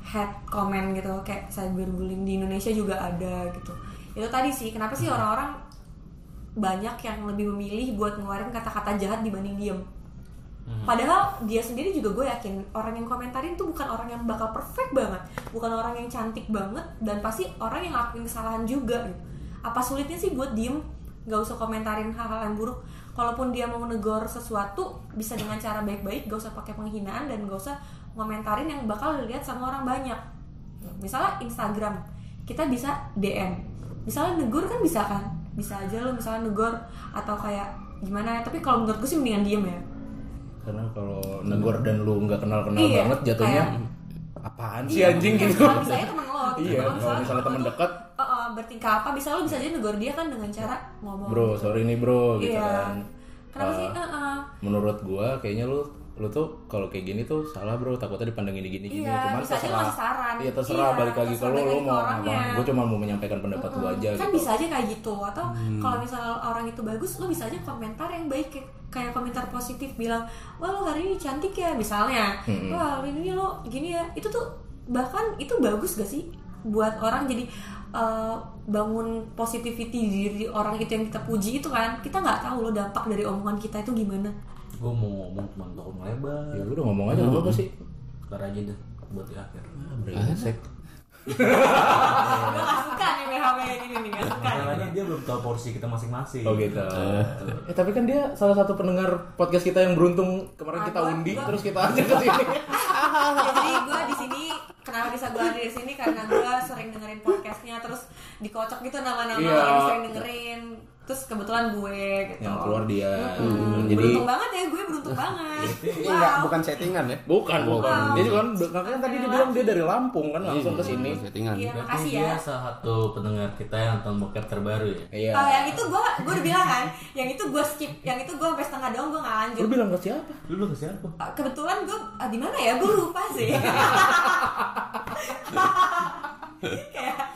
head comment gitu kayak cyberbullying di Indonesia juga ada gitu. Itu tadi sih kenapa sih
Hmm.
orang-orang banyak yang lebih memilih buat ngeluarin kata-kata jahat dibanding diem. Padahal dia sendiri juga gue yakin orang yang komentarin tuh bukan orang yang bakal perfect banget, bukan orang yang cantik banget dan pasti orang yang ngelakuin kesalahan juga. Gitu. Apa sulitnya sih buat diem, nggak usah komentarin hal-hal yang buruk. Kalaupun dia mau negor sesuatu bisa dengan cara baik-baik, gak usah pakai penghinaan dan gak usah komentarin yang bakal dilihat sama orang banyak. Misalnya Instagram, kita bisa DM misalnya negor kan bisa kan bisa aja lo misalnya negor atau kayak gimana ya? tapi kalau menurut gue sih mendingan diem ya
Karena kalau negor dan lu nggak kenal-kenal
Iya,
banget jatuhnya
kayak- Iya,
apaan sih anjing
kayak
gitu.
kalau misalnya temen lo gitu.
Iya, kalau misalnya temen
lo tuh,
dekat,
eh, eh, bertingkah apa bisa lo bisa aja negor dia kan dengan cara ngomong
bro, sorry nih bro gitu
iya
kan.
kenapa sih
Eh,
Eh, eh.
menurut gua kayaknya lu lu tuh kalau kayak gini tuh salah bro takutnya dipandang gini gini gini
Iya,
cuman
bisa aja lu
terserah
ngasih saran.
iya terserah
Iya,
balik lagi ke
terserah
lu lu
balik lagi ke
mau
orangnya.
apa gua cuma mau menyampaikan pendapat gua aja
kan
gitu Hmm.
bisa aja kayak gitu atau kalau misalnya orang itu bagus lo bisa aja komentar yang baik kayak, kayak komentar positif bilang wah lo hari ini cantik ya misalnya
Hmm.
wah hari ini lo gini ya itu tuh bahkan itu bagus gak sih buat orang jadi eh, bangun positivity di diri orang itu yang kita puji itu kan kita nggak tahu lo dampak dari omongan kita itu gimana
gue mau ngomong cuma tolong lebar
ya udah ngomong aja nggak apa-apa sih
Eh,
ntar aja deh buat di akhir Iya.
Ah, brengsek
gue gak suka nih BHW yang ini nih gak suka
Masalahnya dia belum tahu porsi kita masing-masing.
Oh gitu. Eh tapi kan dia salah satu pendengar podcast kita yang beruntung kemarin kita
Apa?
undi terus kita ajak ke sini.
jadi gue di sini kenapa bisa gue hadir di sini karena gue sering dengerin podcastnya terus dikocok gitu nama-nama
Iya.
orang yang sering dengerin terus kebetulan gue gitu
Yang keluar dia.
Hmm,
Jadi- Iya.
beruntung banget ya gue beruntung banget
Enggak, bukan settingan ya.
Bukan, bukan.
Wow.
Jadi kan kan tadi dia bilang dia dari Lampung kan langsung ke sini.
settingan.
iya
Berarti
makasih
dia
ya
salah satu pendengar kita yang nonton bokep terbaru ya.
Iya.
Kalau yang itu gue gue udah bilang kan, yang itu gue skip, yang itu gue sampai setengah doang gue nggak lanjut.
Lu bilang ke siapa?
Lu lu ke siapa?
Ah, Kebetulan gue ah, di mana ya? Gue lupa sih. Kayak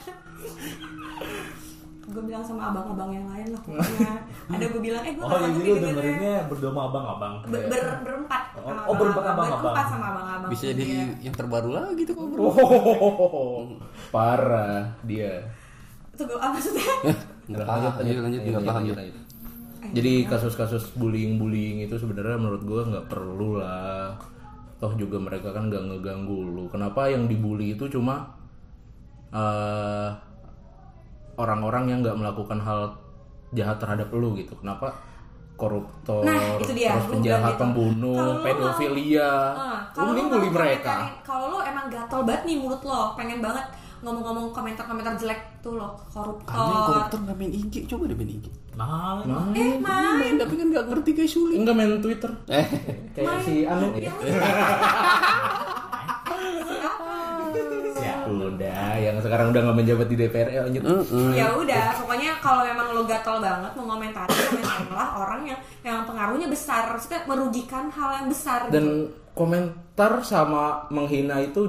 gue bilang sama abang-abang yang lain lah pokoknya. Ada gue bilang, eh gue
Oh, jadi lu dengerinnya berdua sama abang-abang.
Ber, ber, berempat
Oh,
sama
oh, berempat abang-abang.
berempat sama abang-abang
Bisa jadi
Iya.
yang terbaru lagi tuh kok bro.
Oh, parah dia.
Tuh gue apa maksudnya?
Nggak paham, Iya, lanjut, lanjut,
Iya,
nggak paham.
Jadi kasus-kasus bullying-bullying itu sebenarnya menurut gua nggak perlu lah. Toh juga mereka kan nggak ngeganggu lu. Kenapa yang dibully itu cuma eh, orang-orang yang nggak melakukan hal jahat terhadap lu gitu? Kenapa koruptor,
Nah, itu dia.
terus
Gua bilang
penjahat,
gitu. Kalau
pembunuh,
lu
pedofilia,
Ah,
lu mending
lu
bully
mau
mereka.
komentarin- Kalau lu emang gatel banget nih mulut lo, pengen banget ngomong-ngomong komentar-komentar jelek tuh lo
Anjing
koruptor.
koruptor nggak main IG, coba deh main IG.
Nah,
Eh main,
Main tapi kan nggak ngerti guys
eh,
sulit.
Enggak main Twitter.
Eh,
Kayak si Anu.
Ya,
Ya udah, yang sekarang udah nggak menjabat di DPR ya lanjut.
ya udah, pokoknya kalau memang lo gatel banget mau komentarin, komentarinlah orang yang yang pengaruhnya besar, maksudnya merugikan hal yang besar. gitu.
Dan komentar sama menghina itu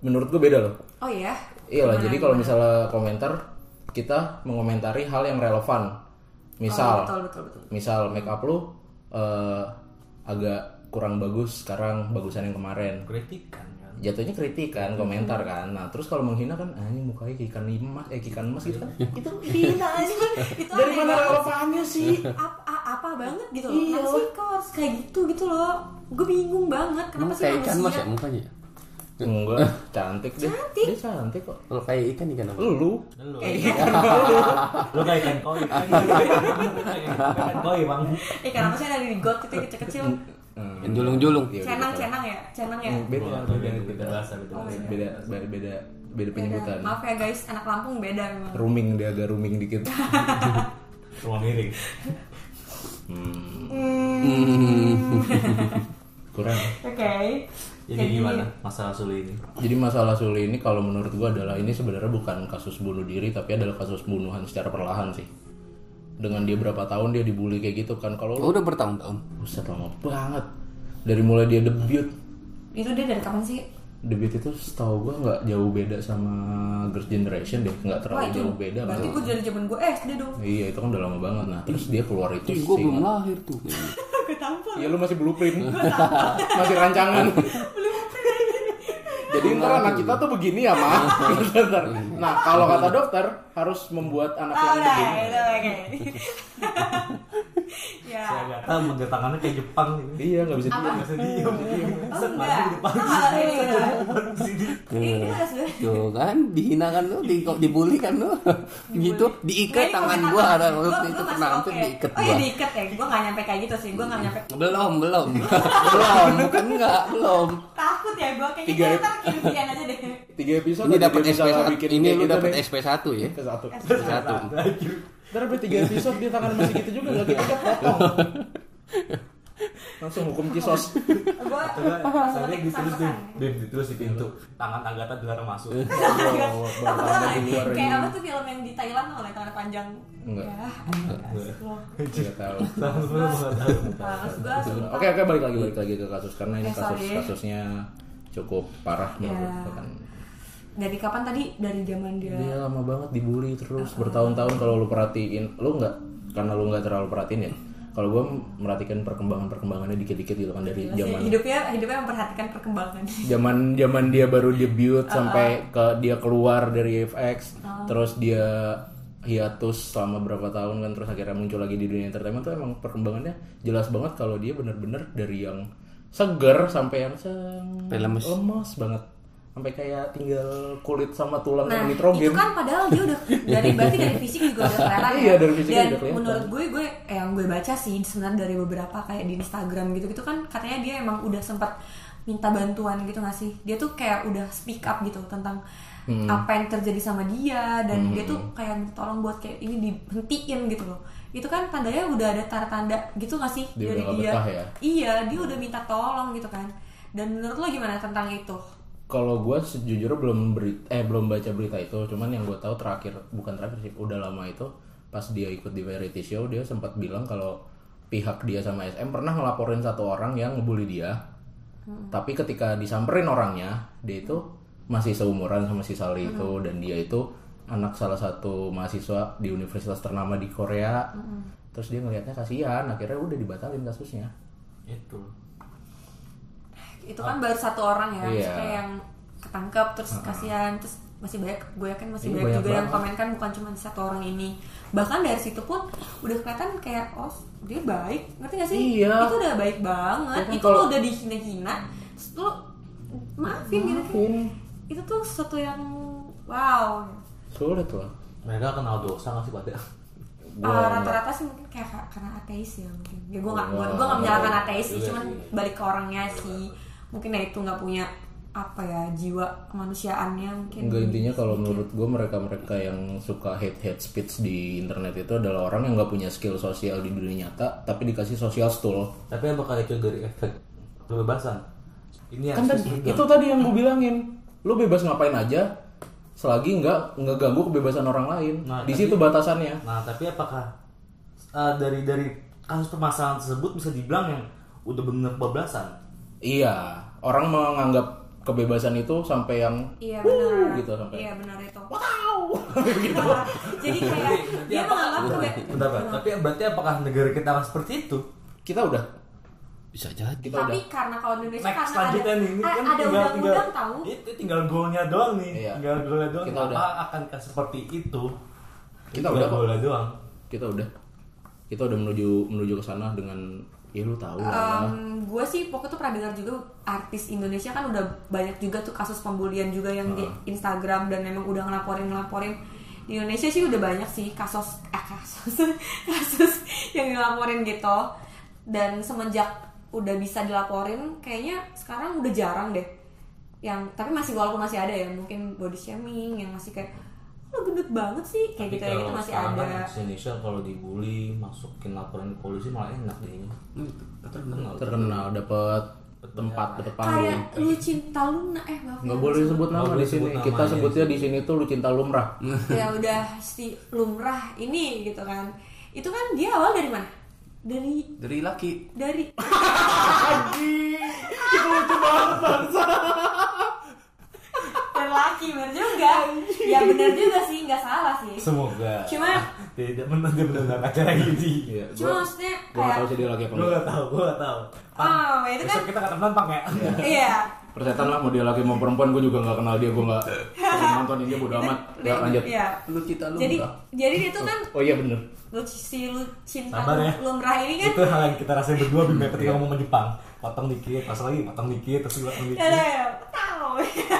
menurut gue beda loh.
oh ya,
Iya lah, jadi kalau misalnya komentar kita mengomentari hal yang relevan. Misal,
betul betul betul.
misal make up lu eh, agak kurang bagus sekarang bagusan yang kemarin.
kritikan kan.
Jatuhnya kritik kan, komentar kan. Nah, terus kalau menghina kan anjing mukanya kayak ikan emas, eh kayak ikan emas gitu kan. Itu
Gila anjing, itu
dari mana
aneh
Iya,
banget.
relevannya sih?
apa, a- apa banget gitu loh. Kenapa sih kok harus kayak gitu gitu loh? Gue bingung banget kenapa
Emang
sih
kayak ikan mas
manusia
ya mukanya? ya?
Enggak, cantik deh.
Cantik.
Dia cantik kok.
Kalau kayak ikan ikan apa?
Lu
Lu lu kayak ikan koi. kan? Ikan koi, Bang.
Eh karena maksudnya dari di got itu yang kecil-kecil
kan. Hmm.
Yang julung-julung.
Iya, gitu
Cenang-cenang ya? Cenang ya?
Oh, beda beda
Beda bahasa, beda bahasa.
beda beda beda, beda
Oh, Beda.
penyebutan.
Maaf ya guys, anak Lampung beda memang
Rooming dia agak rooming dikit.
Rumah miring.
Kurang.
Oke
Jadi gimana masalah Suli ini?
Jadi masalah Suli ini kalau menurut gua adalah ini sebenarnya bukan kasus bunuh diri tapi adalah kasus pembunuhan secara perlahan sih. Dengan dia berapa tahun dia dibully kayak gitu kan kalau lu
Oh, udah bertahun-tahun.
buset lama banget. Dari mulai dia debut
Itu dia dari kapan sih?
debut itu setahu gua nggak jauh beda sama Girls Generation deh nggak terlalu
Wah itu
jauh beda kan.
Berarti gue dari zaman gue SD dong
Iya itu kan udah lama banget nah terus dia keluar itu
Ih,
sih
gue belum lahir tuh.
Gue tampol
Iya lu masih blueprint Masih rancangan Jadi ntar anak kita tuh begini ya Ma Ntar. Nah kalau kata dokter Harus membuat anak
Oh
yang
udah
begini
itu oke Ya
Saya nggak tahu menggerak tangannya kayak Jepang gitu.
Iya nggak bisa diem
Masa diem.
Oh
Set, maju
enggak
di depan.
Nah, ini udah.
Sini.
Ini
Iya.
kita harus ber-
Tuh kan dihina kan lu, di, dibully kan lu. gitu diikat
Ini
tangan
komentar-
gua ada
Iya,
lu
gua-
itu
gua
pernah
masih
hampir
oke.
diikat
Oh iya
gua. Iya.
diikat ya, gue gak nyampe kayak gitu sih Gue gak nyampe
Belum, belum. belum, bukan enggak, belum.
Takut ya gue, kayaknya
Tiga-
gue ntar kiri-kirian aja deh
Tiga episode
Ini
aja
dapat
dia bisa
SP
bikin
ini
kayak
lu
gitu
dapat
deh.
SP1 ya.
Ke satu
Satu.
Ntar sampai tiga episode dia tangan masih gitu juga Gak kita potong Langsung hukum kisos
Gue
Soalnya ditulis di, di- ditulis di pintu. Tangan Agatha dilarang masuk.
Aku
Baru
tau
ada
gak
di luar ini
nih, kayak apa tuh film yang di Thailand tau gak tangan panjang
Enggak.
ya anjing, astagfirullah.
Nggak tahu.
Sama gue nggak tahu.
Terus gua sumpah.
Oke oke balik lagi balik lagi ke kasus Karena ini
Eh, sorry.
kasus-kasusnya cukup parah menurut
Ya.
gua kan
dari kapan tadi dari zaman
Dia
dia
Iya, lama banget dibully terus
Ah.
bertahun-tahun kalau lu perhatiin, lu nggak karena lu nggak terlalu perhatiin ya. Kalau gue merhatikan perkembangan perkembangannya dikit-dikit gitu kan
Iya
dari zaman
hidupnya hidupnya memperhatikan perkembangan
zaman zaman dia baru debut
Ah,
sampai ke dia keluar dari FX, terus dia hiatus selama berapa tahun kan terus akhirnya muncul lagi di dunia entertainment tuh emang perkembangannya jelas banget kalau dia bener-bener dari yang seger sampai yang seng-
Sampai lemes.
lemes banget sampai kayak tinggal kulit sama tulang
Nah,
yang
itu
nitrogen
kan padahal dia udah dari berarti dari fisik juga udah kelihatan ya.
Iya, dari fisik
Dan
udah kelihatan.
menurut gue gue eh, yang gue baca sih sebenarnya dari beberapa kayak di Instagram gitu-gitu kan katanya dia emang udah sempat minta bantuan gitu gak sih? Dia tuh kayak udah speak up gitu tentang
Hmm.
apa yang terjadi sama dia dan dia tuh kayak minta tolong buat kayak ini dihentiin gitu loh. Itu kan tandanya udah ada tanda-tanda gitu gak sih
Dia
dari
udah gak
dia?
betah ya?
Iya, dia udah minta tolong gitu kan. Dan menurut lo gimana tentang itu?
kalau gue sejujurnya belum beri eh belum baca berita itu cuman yang gue tahu terakhir bukan terakhir sih udah lama itu pas dia ikut di variety show dia sempat bilang kalau pihak dia sama SM pernah ngelaporin satu orang yang ngebully dia tapi ketika disamperin orangnya dia itu masih seumuran sama si Sally itu dan dia itu anak salah satu mahasiswa di universitas ternama di Korea terus dia ngelihatnya kasihan akhirnya udah dibatalin kasusnya
itu
itu kan baru satu orang ya
Iya.
maksudnya yang ketangkep terus kasihan terus masih banyak gue yakin masih
Iya,
banyak,
banyak
juga yang
banget.
komen kan bukan cuma satu orang ini bahkan dari situ pun udah kelihatan kayak oh dia baik ngerti gak sih
Iya.
itu udah baik banget
Ya kan
itu
kalau-
lo udah dihina-hina terus lo maafin, gitu kan. itu tuh sesuatu yang wow
sulit lah
mereka kenal dosa nggak sih pada
Gua
Ah,
nggak-
rata-rata sih mungkin kayak ka- karena ateis ya mungkin ya gue nggak gue
Wah.
gue nggak menyalahkan ateis sih
Iya,
cuman
iya.
balik ke orangnya sih mungkin ya itu nggak punya apa ya jiwa kemanusiaannya mungkin
Enggak intinya kalau menurut gue mereka-mereka yang suka hate hate speech di internet itu adalah orang yang nggak punya skill sosial di dunia nyata tapi dikasih social stool.
tapi yang bakal itu dari efek kebebasan ini
Kan
akses
tadi-
freedom.
itu tadi yang gue bilangin, lu bebas ngapain aja selagi nggak nggak ganggu kebebasan orang lain.
Nah,
di
tapi-
situ batasannya.
Nah, tapi apakah uh, dari dari kasus permasalahan tersebut bisa dibilang yang udah benar kebablasan?
Iya, orang menganggap kebebasan itu sampai yang
iya benar
gitu sampai.
iya benar itu
wow
jadi kayak Iya, dia menganggap gitu. gue
Gitu. Iya, Bentar, Pak. Tapi berarti apakah negara kita akan seperti itu?
kita udah
Bisa jadi.
kita
tapi
udah
karena kalau di Indonesia
Next
karena ada
selanjutnya nih, ini
a- ada
kan tinggal tinggal
undang-undang tahu
itu tinggal golnya doang nih,
Iya.
tinggal golnya doang.
Kita
Apa
udah.
akankah seperti itu?
Kita
Tinggal
udah kok.
golnya doang.
kita udah kita udah menuju menuju ke sana dengan ya lu tahu lah.
Em, gue sih pokoknya tuh pernah dengar juga artis Indonesia kan udah banyak juga tuh kasus pembulian juga yang di Instagram dan memang udah ngelaporin ngelaporin di Indonesia sih udah banyak sih kasus eh, kasus kasus yang dilaporin gitu dan semenjak udah bisa dilaporin kayaknya sekarang udah jarang deh yang tapi masih walaupun masih ada ya mungkin body shaming yang masih kayak lo gendut banget sih kayak gitu ya
kalau
gitu masih
sekarang
ada
kan artis Indonesia kalau dibully, masukin laporan ke polisi malah enak deh.
Hmm,
Terkenal.
terkenal dapat tempat dapat panggung
kayak lu cinta Luna eh maaf
Iya. nggak
ya.
boleh sebut nama
Nggak
di
boleh
sini
sebut nama,
kita
iya.
sebutnya di sini tuh lu cinta lumrah
ya udah si lumrah ini gitu kan itu kan dia awal dari mana dari
Dari laki.
dari dari laki bener juga ya bener juga sih nggak salah sih
Semoga
cuma
tidak menonton acara ini.
Iya,
cuma
gua gua nggak tahu
maksudnya kayak
sih dia lagi apa
Gue
enggak.
gak tau, gue gak tau
Ah,
oh itu kan
Besok kita ketemu nampang ya
iya
persetan lah mau dia laki mau perempuan gue juga nggak kenal dia gue nggak sering nontonin dia bodo amat ya lanjut
Iya.
Lu cinta lu.
jadi
enggak?
jadi itu kan
oh iya bener
lu si lu cinta
Sabar ya.
lumrah ini kan
Itu hal yang kita rasain berdua Bim ya, ketika ngomong sama Jepang Potong dikit, pas lagi potong dikit, terus potong
ya
dikit
udah, ya tahu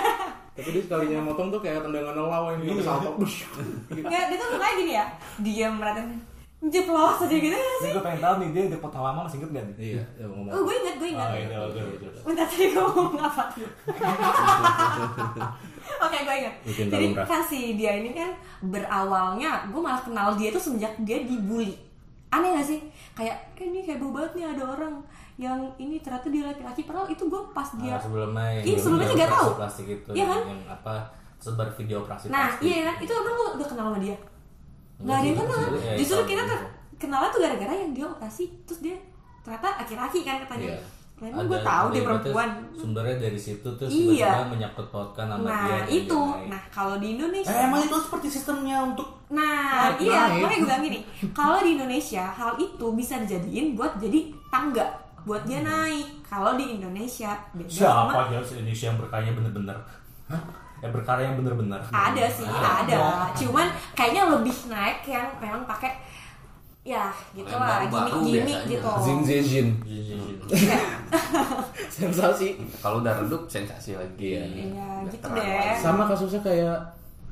tapi dia sekalinya motong tuh kayak tendangan lawan yang
Iya.
dia salto Bush.
gitu.
Nggak, dia tuh mukanya gini ya Dia merhatiin Jeplos aja gitu nggak
Ini
sih?
gue pengen tau nih, dia udah potong lama masih inget gak nih?
iya ya ngomong
Oh gue inget, gue inget
Oh iya, udah, udah, udah.
Bentar tadi gue ngomong apa Oke gue inget
Bikin
Jadi
lumrah.
kan si dia ini kan berawalnya Gue malah kenal dia tuh semenjak dia dibully Aneh gak sih? Kayak "Eh, ini heboh banget nih ada orang yang ini ternyata dia laki-laki padahal itu gue pas dia
Ah, sebelumnya
Iya, sebelumnya
yang
nggak tahu.
operasi plastik itu
Iya kan?
Yang apa, sebar video operasi
Nah
plastik.
iya kan, itu emang lu udah kenal sama dia? Nggak ada yang
sih,
kenal,
iya, iya,
justru
iya.
kita ter- kenalnya tuh gara-gara yang dia operasi Terus dia ternyata laki-laki kan katanya
Iya.
Lainnya
Ada-
gue tahu
ada
dia
yang
perempuan
terus Sumbernya dari situ, terus
Iya.
tiba-tiba menyangkut pautkan sama dia
Nah
dan
itu,
dia naik.
nah kalau di Indonesia
Eh, emang itu seperti sistemnya untuk
Nah iya,
naik.
makanya gue bilang gini Kalau di Indonesia hal itu bisa dijadiin buat jadi tangga Buat dia naik Kalau di Indonesia beda sama
Hmm. Siapa dia di Indonesia yang berkarya bener-bener? Hah? Yang berkarya yang bener-bener
ada sih ada cuman kayaknya lebih naik yang memang pakai ya gitu
Yang
lah
baru-baru
gimmick gimmick
biasanya.
gitu
zin zin zin
Iya, iya, iya.
sensasi
Kalau udah redup sensasi lagi. ya.
Iya.
Iya,
Udah
gitu
terang
deh.
sama kasusnya kayak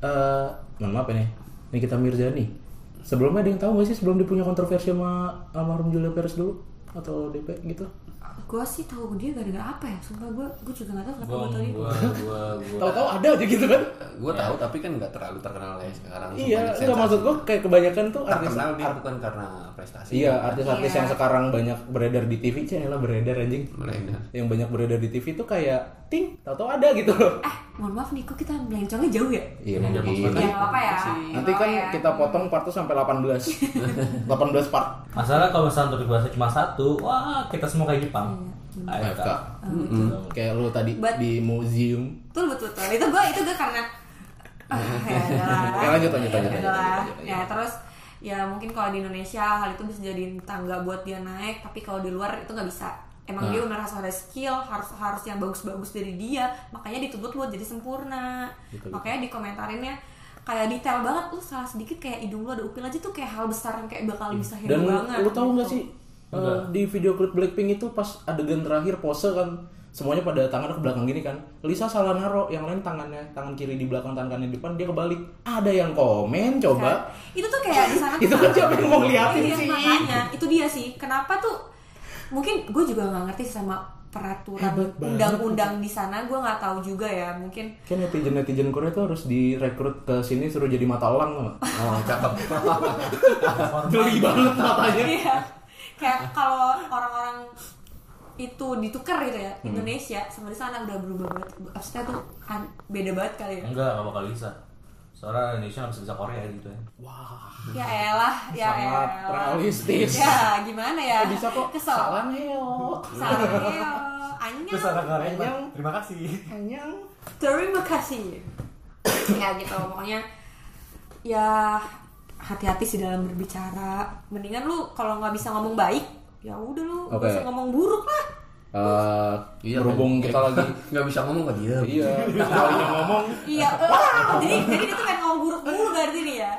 eh mohon maaf ya nih Nikita Mirzani sebelumnya ada yang tahu gak sih sebelum dia punya kontroversi sama almarhum Julia Perez dulu atau DP gitu
Gue sih tahu dia gara-gara apa ya? Sumpah gue gue juga nggak tahu kenapa
Gua
gue tahu dia.
gua gua gua.
tahu-tahu ada aja gitu kan
Gue tahu tapi kan nggak terlalu terkenal ya sekarang.
iya
Banyak
nggak
sensasi.
maksud gue kayak kebanyakan tuh artis
terkenal dia bukan karena prestasi.
iya artis-artis
Iya.
yang sekarang banyak beredar di TV lah beredar anjing
Beredar.
yang banyak beredar di TV tuh kayak ting tahu-tahu ada gitu loh
Eh, mohon maaf nih, kok kita melencongnya jauh ya?
iya
Ya nggak apa-apa ya.
nanti kan kita potong part tuh sampai 18 18 part
Masalah kalau misalnya topik bahasa cuma satu, wah kita semua kayak Jepang.
Iya,
AFK. kayak lu tadi
But-
di museum
Betul betul betul. Itu gue itu gue karena Ah, ya udahlah.
Ya, lanjut, lanjut, lanjut,
Ya
lanjut,
udahlah.
lanjut, lanjut.
Ya, terus ya mungkin kalau di Indonesia hal itu bisa jadi tangga buat dia naik, tapi kalau di luar itu nggak bisa.
Ah.
Emang dia merasa ada skill, harus harus yang bagus-bagus dari dia, makanya dituntut buat jadi sempurna. makanya di komentarinnya kayak detail banget lu salah sedikit kayak hidung lu ada upil aja tuh kayak hal besar yang kayak bakal bisa
Iya. Dan
banget.
lu tahu nggak
gitu.
sih eh, di video klip Blackpink itu pas adegan terakhir pose kan semuanya pada tangan ke belakang gini kan. Lisa salah naro, yang lain tangannya tangan kiri di belakang tangan kanan di depan dia kebalik. Ada yang komen coba.
itu tuh kayak di sana tuh
Itu kan siapa yang mau ngeliatin
Iya,
sih?
makanya itu dia sih kenapa tuh mungkin gue juga nggak ngerti sih sama peraturan
Hebat banget.
undang-undang di sana gue nggak tahu juga ya mungkin
Kan netizen netizen Korea tuh harus direkrut ke sini suruh jadi mata elang tuh.
Oh, cakep.
Geli banget matanya.
iya kayak kalau orang-orang itu ditukar gitu ya
Hmm.
Indonesia sama di sana udah berubah banget maksudnya tuh an- beda banget kali ya
Enggak, enggak bakal bisa. Soalnya Indonesia nggak bisa bisa Korea gitu ya.
Wah,
ya elah ya
sangat
elah
realistis.
ya gimana ya
Bisa kok
kesel
salah neok.
salah Eo. Anyang.
Korea,
Yang-
terima kasih.
Anyang.
terima kasih ya gitu pokoknya ya hati-hati sih dalam berbicara mendingan lu kalau nggak bisa ngomong baik ya udah lu nggak
Oke.
bisa ngomong buruk lah
Eh, berhubung kita lagi
Iya, nggak bisa ngomong kok dia.
gitu. Iya, kalinya ngomong
iya eh, jadi jadi dia tuh pengen ngomong buruk dulu berarti nih ya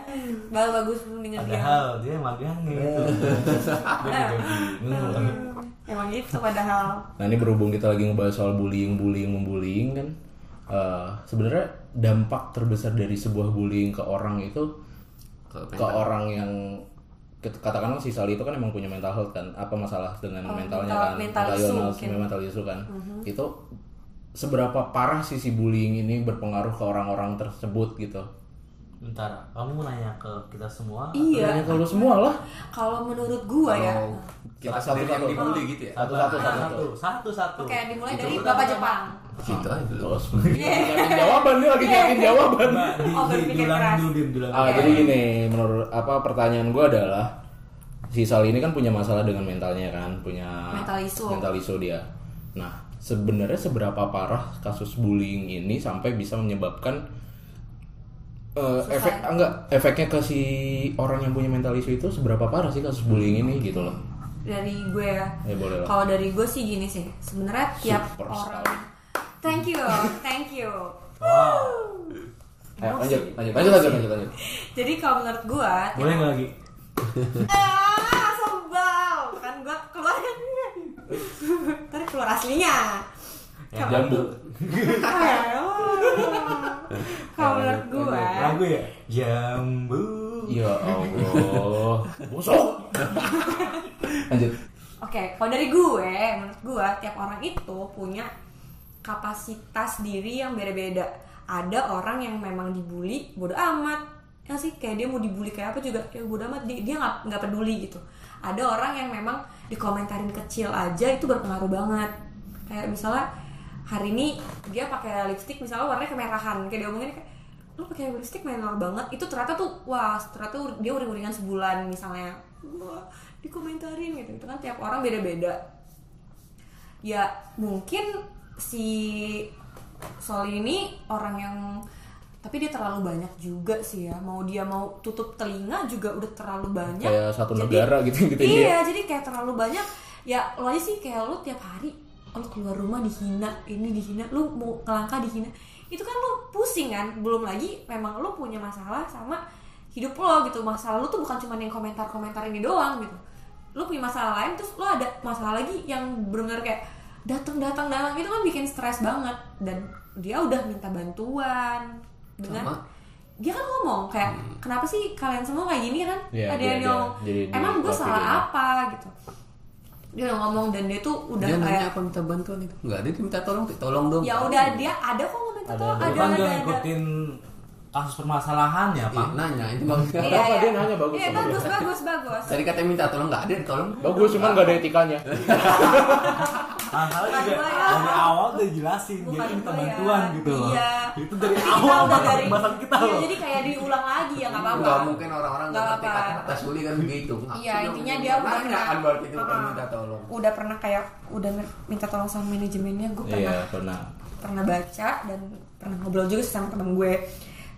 bagus bagus mendingan dia
Padahal "Oh, dia gitu. magang
Eh.
gitu. Dia juga bingung.
emang gitu padahal
Nah ini berhubung kita lagi ngebahas soal bullying, bullying, membullying kan. eh, Sebenarnya dampak terbesar dari sebuah bullying ke orang itu
Ke
ke orang yang ke- katakanlah si Sally itu kan emang punya mental health kan apa masalah dengan
Oh,
mentalnya kan
mental- mental
Mental
issue
illness,
mungkin. Mhm.
mental issue kan itu seberapa parah sih si bullying ini berpengaruh ke orang-orang tersebut gitu
Bentar, kamu nanya ke kita semua.
Tanya
iya
ke lu semua lah
kalau menurut gua ya
Kalau kita sendiri yang
Satu-satu.
dibully gitu ya.
Satu satu satu satu satu.
oke dimulai dari bapak Jepang
Gitu aja.
terus nyariin jawaban dia lagi
Iya.
nyariin jawaban
Mbak, di,
Oh,
di,
berpikir
diulang
keras.
dulu, Dim, diulang.
Ah, jadi gini, menurut apa pertanyaan gue adalah si Sal ini kan punya masalah dengan mentalnya kan, punya
Mental issue.
mental issue dia. Nah, sebenarnya seberapa parah kasus bullying ini sampai bisa menyebabkan eh, efek ah, enggak efeknya ke si orang yang punya mental issue itu seberapa parah sih kasus bullying ini gitu loh.
dari gue ya
Ya boleh lah.
Kalau dari gue sih gini sih, sebenarnya tiap
Super
orang.
sekali.
Thank you, thank you.
Wow.
Ayo, lanjut, lanjut, lanjut, lanjut, lanjut, lanjut.
Jadi kalau menurut gue,
Boleh nggak lagi?
ah sombong kan gue keluar kan, ntar keluar aslinya.
Ya,
Jambu.
kalau menurut gue,
Lagu ya? Jambu.
Ya Allah. Busuk. lanjut.
Oke, kalau dari gue, menurut gue tiap orang itu punya kapasitas diri yang beda-beda. Ada orang yang memang dibully, bodo amat. Ya sih, kayak dia mau dibully kayak apa juga, ya bodo amat. Dia dia nggak nggak peduli gitu. Ada orang yang memang dikomentarin kecil aja itu berpengaruh banget. Kayak misalnya hari ini dia pakai lipstick misalnya warnanya kemerahan, kayak dia omongin kayak lu pakai lipstick minor banget itu ternyata tuh wah ternyata ur- dia uring-uringan sebulan misalnya wah dikomentarin gitu gitu kan tiap orang beda-beda ya mungkin si Sol ini orang yang tapi dia terlalu banyak juga sih ya mau dia mau tutup telinga juga udah terlalu banyak
Kayak satu
Jadi-
negara gitu gitu
ya.
iya jadi kayak terlalu banyak ya lo aja sih kayak lo tiap hari lo keluar rumah dihina ini dihina lo mau ngelangkah dihina itu kan lo pusing kan belum lagi memang lo punya masalah sama hidup lo gitu masalah lo tuh bukan cuma yang komentar-komentar ini doang gitu lo lu punya masalah lain terus lu ada masalah lagi yang benar kayak datang datang datang itu kan bikin stres banget dan dia udah minta bantuan dengan
Sama.
dia kan ngomong kayak kenapa sih kalian semua kayak gini kan
Iya,
ada
dia-
yang
dia-
ngomong
jadi di-
emang gue
waktu
salah
dia-
apa gitu dia udah ngomong dan dia tuh udah
dia
kayak
nanya apa minta bantuan itu nggak dia minta tolong Ti. tolong dong
ya udah dia ada kok ngomong itu
Ada-
tuh
ada.
ada ada
Bang nggak
ada,
ngikutin kasus permasalahannya
Iya,
pak
nanya itu bagus
Nggak
Iya,
apa-apa,
iya.
dia nanya bagus
Iya,
sama
bagus bagus bagus
tadi katanya minta tolong nggak ada tolong
Bagus, cuman gak ada etikanya.
masalah
Bukan
juga
gua ya.
dari awal udah jelasin
Bukan
jadi minta
gua ya.
bantuan gitu loh
Iya.
itu dari
Kita
awal
udah
bahasa pembahasan kita
Iya,
loh
jadi kayak diulang lagi ya nggak apa-apa
nggak mungkin orang-orang nggak
Nggak
ngerti
apa-apa.
kata-kata sulit kan begitu Ngapain
Iya,
dong
intinya
ini?
dia udah
nanya
pernah-
kan berarti itu bukan
Ah.
minta tolong
udah pernah kayak udah minta tolong sama manajemennya gue pernah
iya pernah
pernah baca dan pernah ngobrol juga sih sama temen gue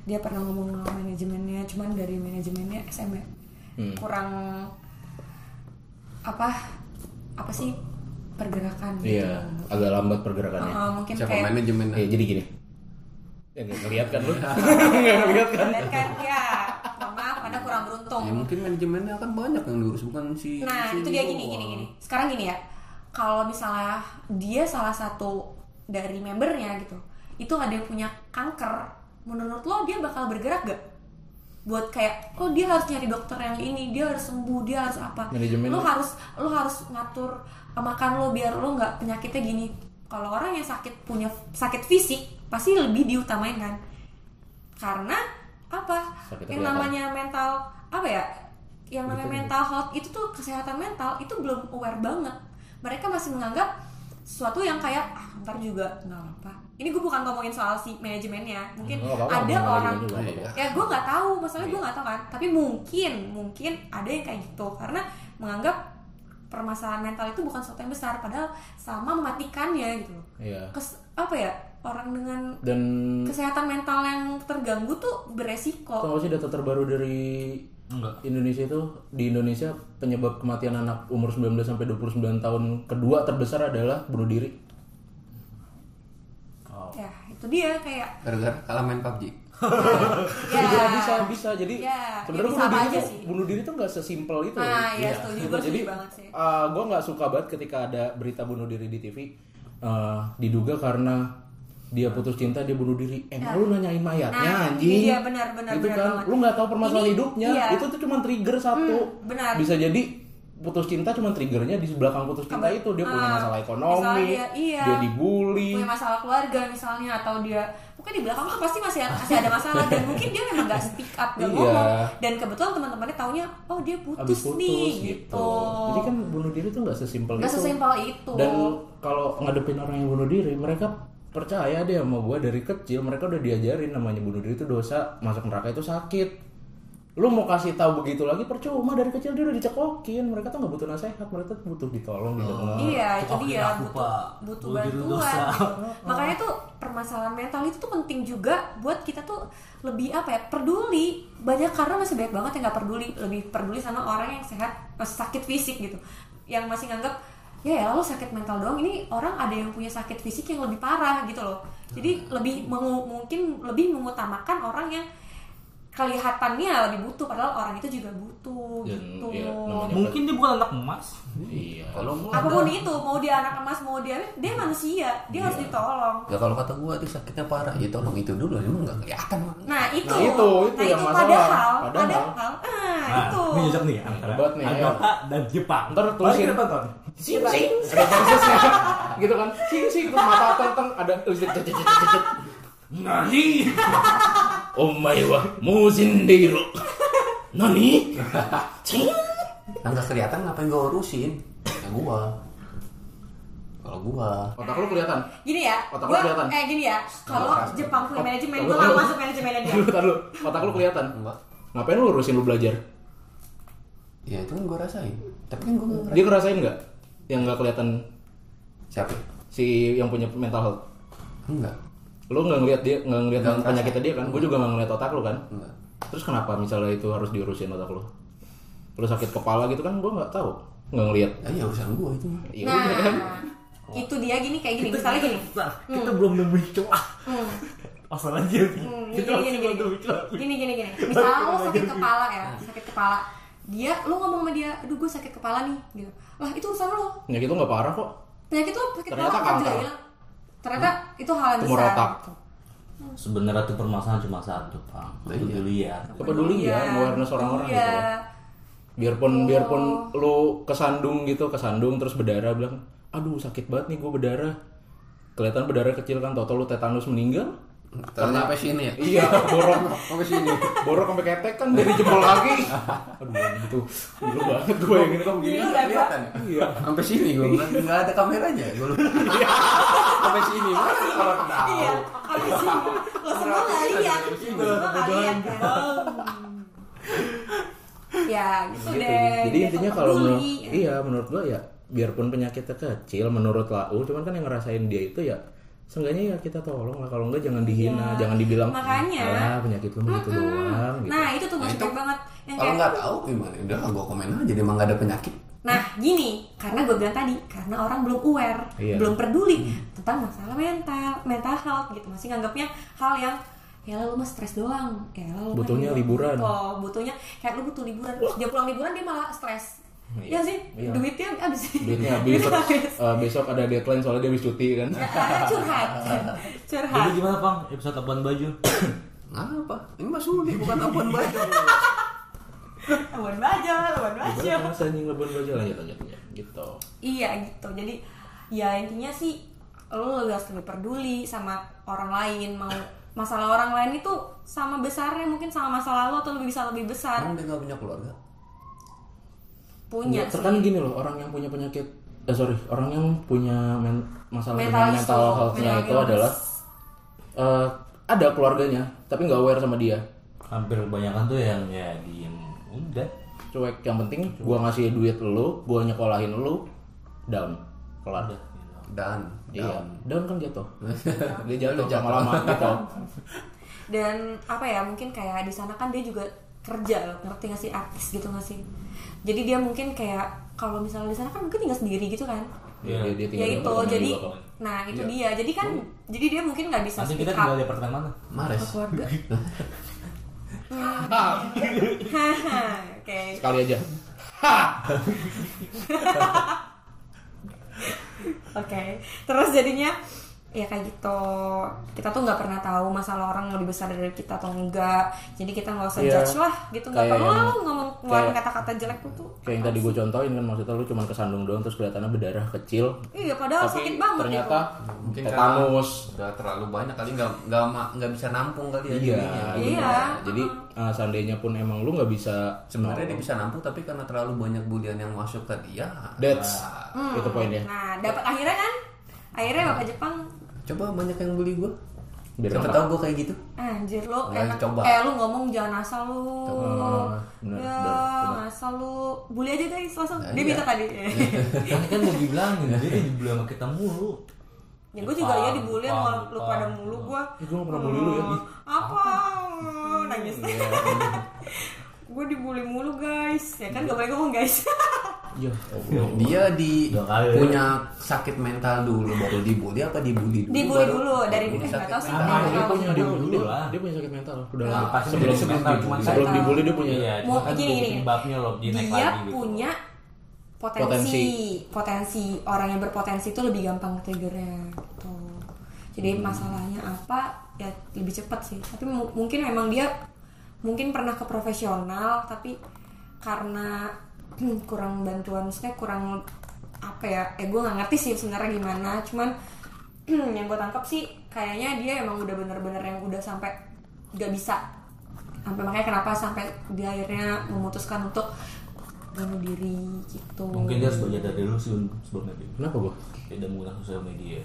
dia pernah ngomong sama manajemennya cuman dari manajemennya SM ya kurang apa apa sih pergerakan gitu.
Iya, agak lambat pergerakannya.
Uh, mungkin
siapa
kayak
manajemen
Iya, jadi gini. Ya, nggak ngeliat kan lu? Nggak ngeliat kan?
Dan kan ya mohon maaf karena kurang beruntung
ya mungkin manajemennya kan banyak yang diurus bukan si
Nah,
si
itu dia
doang.
gini gini gini. Sekarang gini ya. Kalau misalnya dia salah satu dari membernya gitu, itu ada yang punya kanker, menurut lo dia bakal bergerak gak? Buat kayak, oh dia harus nyari dokter yang ini, dia harus sembuh, dia harus apa?
Manajemen lo.
Lo harus lo harus ngatur eh, makan lo biar lo nggak penyakitnya gini. Kalau orang yang sakit punya sakit fisik pasti lebih diutamain kan? Karena apa?
Sakit
yang
kelihatan.
namanya mental apa ya? Yang namanya mental health itu tuh kesehatan mental itu belum aware banget. Mereka masih menganggap sesuatu yang kayak ah, ntar juga nggak apa. Ini gue bukan ngomongin soal si manajemennya, mungkin
Nggak apa-apa,
ada
ngomongin
orang
manajemen juga Iya. nggak apa-apa.
ya gue nggak tahu masalahnya gue nggak tahu kan tapi mungkin mungkin ada yang kayak gitu karena menganggap permasalahan mental itu bukan sesuatu yang besar padahal sama mematikannya gitu loh
Iya.
Kes- apa ya orang dengan
Dan
kesehatan mental yang terganggu tuh beresiko
tau gak sih data terbaru dari
enggak
Indonesia itu di Indonesia penyebab kematian anak umur 19 sampai 29 tahun kedua terbesar adalah bunuh diri.
ya itu dia kayak
gara-gara kalah main PUBG
ya
Bisa bisa bisa. Jadi
Iya,
sebenarnya
jadi
bunuh
sama
diri
aja
tuh-
sih.
bunuh diri tuh nggak sesimpel itu.
nah ya setuju gue
Jadi
setuju banget sih
gue nggak suka banget ketika ada berita bunuh diri di TV eh, diduga karena dia putus cinta dia bunuh diri. Emang lu nanyain mayatnya
Ya. Nah,
anjing?
ini dia, benar, benar,
Itu
benar
kan
banget.
lu nggak tahu permasalahan
Ini-
hidupnya.
iya.
Itu tuh cuma trigger satu.
Hmm, benar.
Bisa jadi putus cinta cuma triggernya di belakang putus cinta
Keba-
itu dia punya
Ah,
masalah ekonomi,
misalnya dia- iya.
dia dibully.
punya masalah keluarga misalnya atau dia mungkin di belakang tuh pasti masih masih ada masalah dan mungkin dia memang gak speak up gak
Iya.
ngomong dan kebetulan teman-temannya taunya oh dia
Abis
putus,
putus
nih
gitu.
gitu
Jadi kan bunuh diri tuh nggak sesimpel
gak
itu.
sesimpel itu
Dan kalau ngadepin orang yang bunuh diri, mereka percaya deh sama gue dari kecil mereka udah diajarin namanya bunuh diri itu dosa, masuk neraka itu sakit. Lu mau kasih tahu begitu lagi percuma dari kecil dia udah dicekokin, mereka tuh nggak butuh nasehat, mereka tuh butuh ditolong gitu.
Iya, itu
Cekokin
dia
aku,
butuh
Pak.
butuh
Bunuh diri
bantuan.
dosa.
gitu. Makanya tuh permasalahan mental itu tuh penting juga buat kita tuh lebih apa ya peduli banyak karena masih banyak banget yang nggak peduli lebih peduli sama orang yang sehat masih sakit fisik gitu yang masih nganggap ya ya lo sakit mental doang ini orang ada yang punya sakit fisik yang lebih parah gitu loh jadi lebih mengu- mungkin lebih mengutamakan orang yang kelihatannya lebih butuh padahal orang itu juga butuh
Dan,
gitu
ya, namanya
mungkin dia bukan anak emas
Iya. Iya.
kalau gua
apapun itu mau dia anak emas mau dia dia manusia dia harus ditolong
ya kalau kata gua itu sakitnya parah ya tolong itu dulu emang nggak kelihatan Bang.
nah itu
Nah, itu, itu
Nah,
yang masalah.
padahal
Padahal.
padahal, ah,
nah,
itu
ini cocok nih antara
Hebat nih, ya.
Agatha dan Jepang
Ntar
Mari
terusin.
kita tonton
Sing sing. Ada kasusnya. gitu kan. Sing sing terus mata tentang ada listrik cet cet cet, cet, cet.
Nani
Omae wa musin deiru. Nani? Sing.
Nah, nggak kelihatan ngapain gua urusin ya gua kalau gua
Otak lu kelihatan.
gini ya
Otak lu
gua-
kelihatan.
eh gini ya kalau Jepang punya manajemen
otak lu-
gue
Iya,
nggak masuk manajemennya dia
Lu tar lu. Otak lu kelihatan.
enggak
Ngapain lu urusin lu belajar?
ya itu kan gua rasain tapi kan gua nggak ngerasain
Dia ngerasain nggak yang nggak kelihatan
siapa
si yang punya mental health?
enggak
Lu nggak ngeliat dia nggak ngeliat
Nggak ngerasa.
penyakitnya dia kan? Gue juga nggak ngeliat otak lu kan?
enggak
Terus kenapa misalnya itu harus diurusin otak lu? Lu sakit kepala gitu kan? Gue nggak tahu, nggak ngeliat.
ya, ya urusan gua itu mah
Iya
nah
udah kan?
itu dia gini kayak gini misalnya gini
Ntar, Nah, kita belum nemuin celah
Hmm.
masalah dia nih.
Hmm, gini,
kita masih
gini,
belum
gini.
nemuin celah
gini gini gini misal lo sakit kepala ya sakit kepala dia lu ngomong sama dia aduh gue sakit kepala nih gitu lah itu urusan lo
Penyakit itu nggak parah kok.
penyakit lo sakit
Ternyata
kepala
kanker.
ya ternyata itu hal yang
Tumor
besar
otak.
gitu.
Sebenarnya tuh permasalahan cuma satu, Pak. Kepedulian.
Peduli ya, awareness orang-orang
iya.
gitu. Biarpun biarpun lu kesandung gitu, kesandung terus berdarah bilang, "Aduh, sakit banget nih gue berdarah." Kelihatan berdarah kecil kan, toto lu tetanus meninggal.
Ternyata sampai sini ya.
Iya, borok.
Sampai sini.
Borok sampai ketek kan dari jempol kaki. Aduh, gitu. Dulu banget gue yang gitu ini kok begini.
Gila,
Nggak
Bang.
kelihatan. ya?
Iya.
Sampai sini gue.
Nggak nggak ada kameranya. Gue
Sampai sini. Mana orang tahu.
Iya, habis ini lo semua nggak lihat, lo semua nggak lihat kan? Ya gitu
Gitu.
deh.
Jadi
Dia
intinya
tuh
kalau menurut
peduli.
iya menurut gue ya biarpun penyakitnya kecil menurut lau cuman kan yang ngerasain dia itu ya seenggaknya ya kita tolong lah kalau enggak jangan dihina jangan dibilang
Iya. Makanya.
"Alah, penyakit lu begitu doang gitu
Nah itu tuh
Nah,
maksudnya
itu-
banget yang
Kalau
kayak-
nggak tahu gimana? Udah gue komen aja. Emang nggak ada penyakit.
Nah gini, karena gue bilang tadi, karena orang belum aware,
Iya.
belum peduli tentang masalah mental, mental health gitu masih nganggapnya hal yang ya lah, lu mah stres doang, ya lah, lu mah
Butuhnya
hidup."
liburan.
Oh, butuhnya kayak lu butuh liburan, Terus dia pulang liburan dia malah stres.
Iya.
Iya sih,
Iya.
duitnya habis.
duitnya habis
Duitnya habis.
Eh, besok ada deadline soalnya dia habis cuti kan
Ya, karena curhat, curhat.
Jadi gimana, Bang? Episode apaan baju?
Ngapa? Ini mah sulit bukan apaan baca.
Lawan baja, lawan baja.
Gimana rasanya ngelebon baju lanjut lanjut lanjut. gitu
Iya gitu. Jadi ya intinya sih lo harus lebih peduli sama orang lain mau masalah orang lain itu sama besarnya mungkin sama masalah lo atau lebih bisa lebih besar
Emang dia nggak punya keluarga?
Iya,
punya Iya sih.
Terus kan gini loh orang yang punya penyakit eh sorry orang yang punya men- masalah
Mental
dengan
issue,
mental healthnya
mental
itu
illness.
adalah eh, ada keluarganya tapi nggak aware sama dia
Hampir kebanyakan tuh yang ya diem. Udah.
cuek yang penting gua ngasih duit lu gua nyekolahin lu down kelar
Udah.
Dan.
iya down kan jatuh dia jatuh lama-lama gitu
dan apa ya mungkin kayak di sana kan dia juga kerja loh ngerti nggak sih artis gitu nggak sih jadi dia mungkin kayak kalau misalnya di sana kan mungkin tinggal sendiri gitu kan
Iya, dia, dia tinggal
ya
di
itu
apartemen
iya,
jadi
juga kok.
nah itu dia jadi kan jadi dia mungkin nggak bisa
Oh. Nanti
speak
kita tinggal
up
di apartemen mana?
Mares.
keluarga oke
sekali aja
Oke, terus jadinya ya kayak gitu. Kita tuh nggak pernah tahu masalah orang lebih besar dari kita atau enggak. Jadi kita nggak usah
Iya.
judge lah gitu. Nggak
Kayak
perlu lah
yang-
lu ngomong ngeluarin
kayak-
kata-kata jelek tuh. tuh.
kayak yang tadi gua contohin kan maksudnya lu cuman kesandung doang terus kelihatannya berdarah kecil
Iya, padahal
tapi
sakit banget
ternyata
Mungkin
tetanus
Udah terlalu banyak kali nggak nggak ma- nggak bisa nampung kali ya
Iya,
jadinya.
gitu.
Iya.
Jadi eh, seandainya pun emang lu nggak bisa Oh,
Sebenarnya dia bisa nampung tapi karena terlalu banyak bulian yang masuk ke dia. ah.
That's
Hmm.
itu poinnya. Hmm.
Nah, dapat akhirnya kan? Akhirnya bapak Jepang
Coba banyak yang bully gue.
Biar
Siapa
enak.
tahu gue kayak gitu.
anjir lu
Nah,
enak
coba.
eh lu ngomong jangan asal lu.
bener,
ya,
bener,
asal lu bully aja guys langsung.
Nah,
Dia
iya.
minta tadi.
Kan kan mau dibilangin, dia dibilang sama kita mulu.
ya gue juga ya
Jepang,
dibully
Jepang,
sama lu
Jepang.
pada mulu gue
Eh, gua nggak pernah bully lu ya. Iya. Ih.
apa nangis gue dibully mulu guys ya kan gak boleh ngomong guys
Ya,
Dia di
Udah kali ya.
punya sakit mental dulu baru dibully apa dibully dulu?
dibully
baru-
dulu dari
baru
eh nggak
sakit
tahu sih
Ah,
mental.
Iya. dia
Iya,
punya Iya, dia,
dulu
dia-
lah.
dia punya sakit mental udah
Ah,
lama.
pasti
sebelum
jadi mental, cuman
sebelum
mental.
dibully dia punya
Iya,
Mau-
cuma kan
gini, gini.
penyebabnya loh, dia naik
dia
lagi gitu.
punya
Potensi.
potensi potensi orang yang berpotensi itu lebih gampang triggernya gitu jadi
Hmm.
masalahnya apa ya lebih cepat sih tapi mu- mungkin memang dia mungkin pernah ke profesional tapi karena kurang bantuan maksudnya kurang apa ya eh gue nggak ngerti sih sebenarnya gimana cuman yang gue tangkap sih kayaknya dia emang udah bener-bener yang udah sampai nggak bisa sampai makanya kenapa sampai dia akhirnya memutuskan untuk bunuh diri gitu
Mungkin dia harus belajar dari lu sih Un, sebelumnya dia.
Kenapa gua?
Tidak menggunakan sosial media.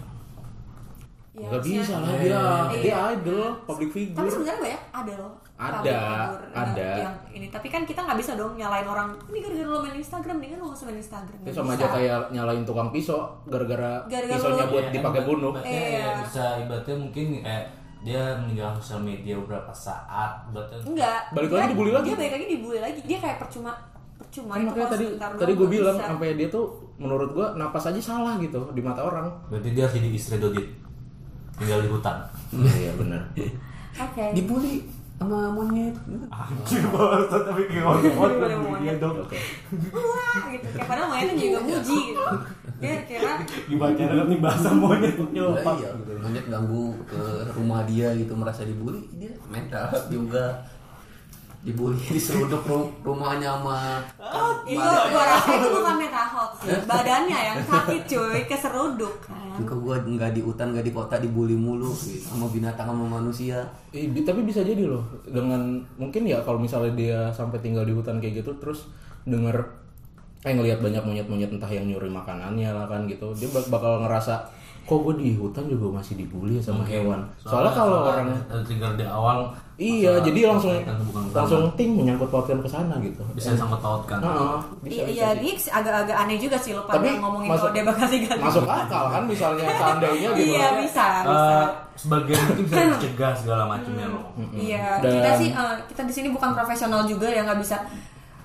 Ya,
Gak
maksudnya-
bisa lah dia.
Iya.
Dia idol, public figure.
tapi sebenarnya banyak ada loh
Ada,
public figure yang-
ada.
yang ini tapi kan kita nggak bisa dong nyalain orang "Oh, ini gara-gara lo main Instagram dengan lo nggak usah main Instagram
Itu
Nggak
Ya, sama
bisa.
aja kayak nyalain tukang pisau gara-gara
Gara-gara
pisaunya
lu-
buat
Ya,
dipakai
ibarat-
bunuh.
ibaratnya ya
Iya.
bisa ibaratnya mungkin eh, dia meninggalkan sosial media beberapa saat, ibaratnya
enggak
Balik
Dia-
lagi dibully lagi.
dia balik lagi dibully lagi dia kayak percuma percuma
Kan makanya
kalau
tadi
sebentar
tadi
doang
gue
nggak
bilang
bisa.
sampai dia tuh menurut gua napas aja salah gitu di mata orang.
berarti dia harus jadi istri Dodit. Tinggal di hutan.
Iya benar.
oke
Dibully sama monyet
Anjir banget
Iya,
tapi kayak ngomong
Boleh
dia
monyet.
dong.
Wah, gitu kayak padahal mainnya
Iya.
juga muji gitu dia kira
Dibaca dalam nih bahasa monyet
Nah,
nyopak.
iya, monyet ganggu ke rumah dia gitu merasa dibully dia mental juga dibully diseruduk ru- rumahnya sama
Oh, iya,
itu gua rasa itu bukan mental health sih. badannya yang sakit cuy keseruduk kan
Juga gua nggak di hutan nggak di kota dibully mulu gitu. sama binatang sama manusia
Ih, bi- tapi bisa jadi loh dengan mungkin ya kalau misalnya dia sampai tinggal di hutan kayak gitu terus denger eh ngelihat banyak monyet-monyet entah yang nyuri makanannya lah kan gitu dia bak- bakal ngerasa kok gue di hutan juga masih dibully ya sama hewan soalnya kalau orang
ya. trigger di awal
iya
masa-
jadi langsung
kaitan bukan utama.
langsung ting menyangkut pautkan ke sana gitu
bisa sama kan. tautkan.
Heeh, bisa,
Iya,
bisa
iya,
sih.
dia sih agak-agak aneh juga sih lupa
Tapi
ngomongin
masuk-
kalau dia bakal diganti.
masuk akal kan misalnya seandainya gitu
iya, bisa, bisa. Hmm.
Eh, sebagian mungkin bisa dicegah segala macamnya loh.
Iya,
Dan-
kita sih eh, kita di sini bukan profesional juga ya nggak bisa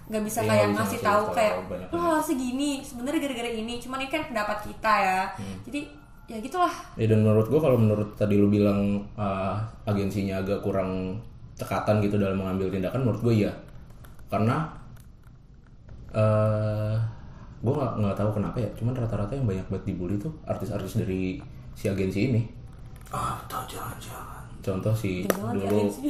nggak bisa
Iya,
kayak
nggak bisa
ngasih
ngasih
tahu
tahu
kayak
banyak
lo
banget.
harus gini sebenarnya gara-gara ini cuman ini kan pendapat kita ya
Hmm.
jadi ya gitulah
Ya dan menurut gua kalau menurut tadi lu bilang uh, agensinya agak kurang cekatan gitu dalam mengambil tindakan, menurut gue iya. Karena eh gue nggak nggak tahu kenapa ya, cuman rata-rata yang banyak banget dibully tuh artis-artis dari si agensi ini.
Atau Ah, jangan-jangan.
Contoh si
jangan di
dulu
agensi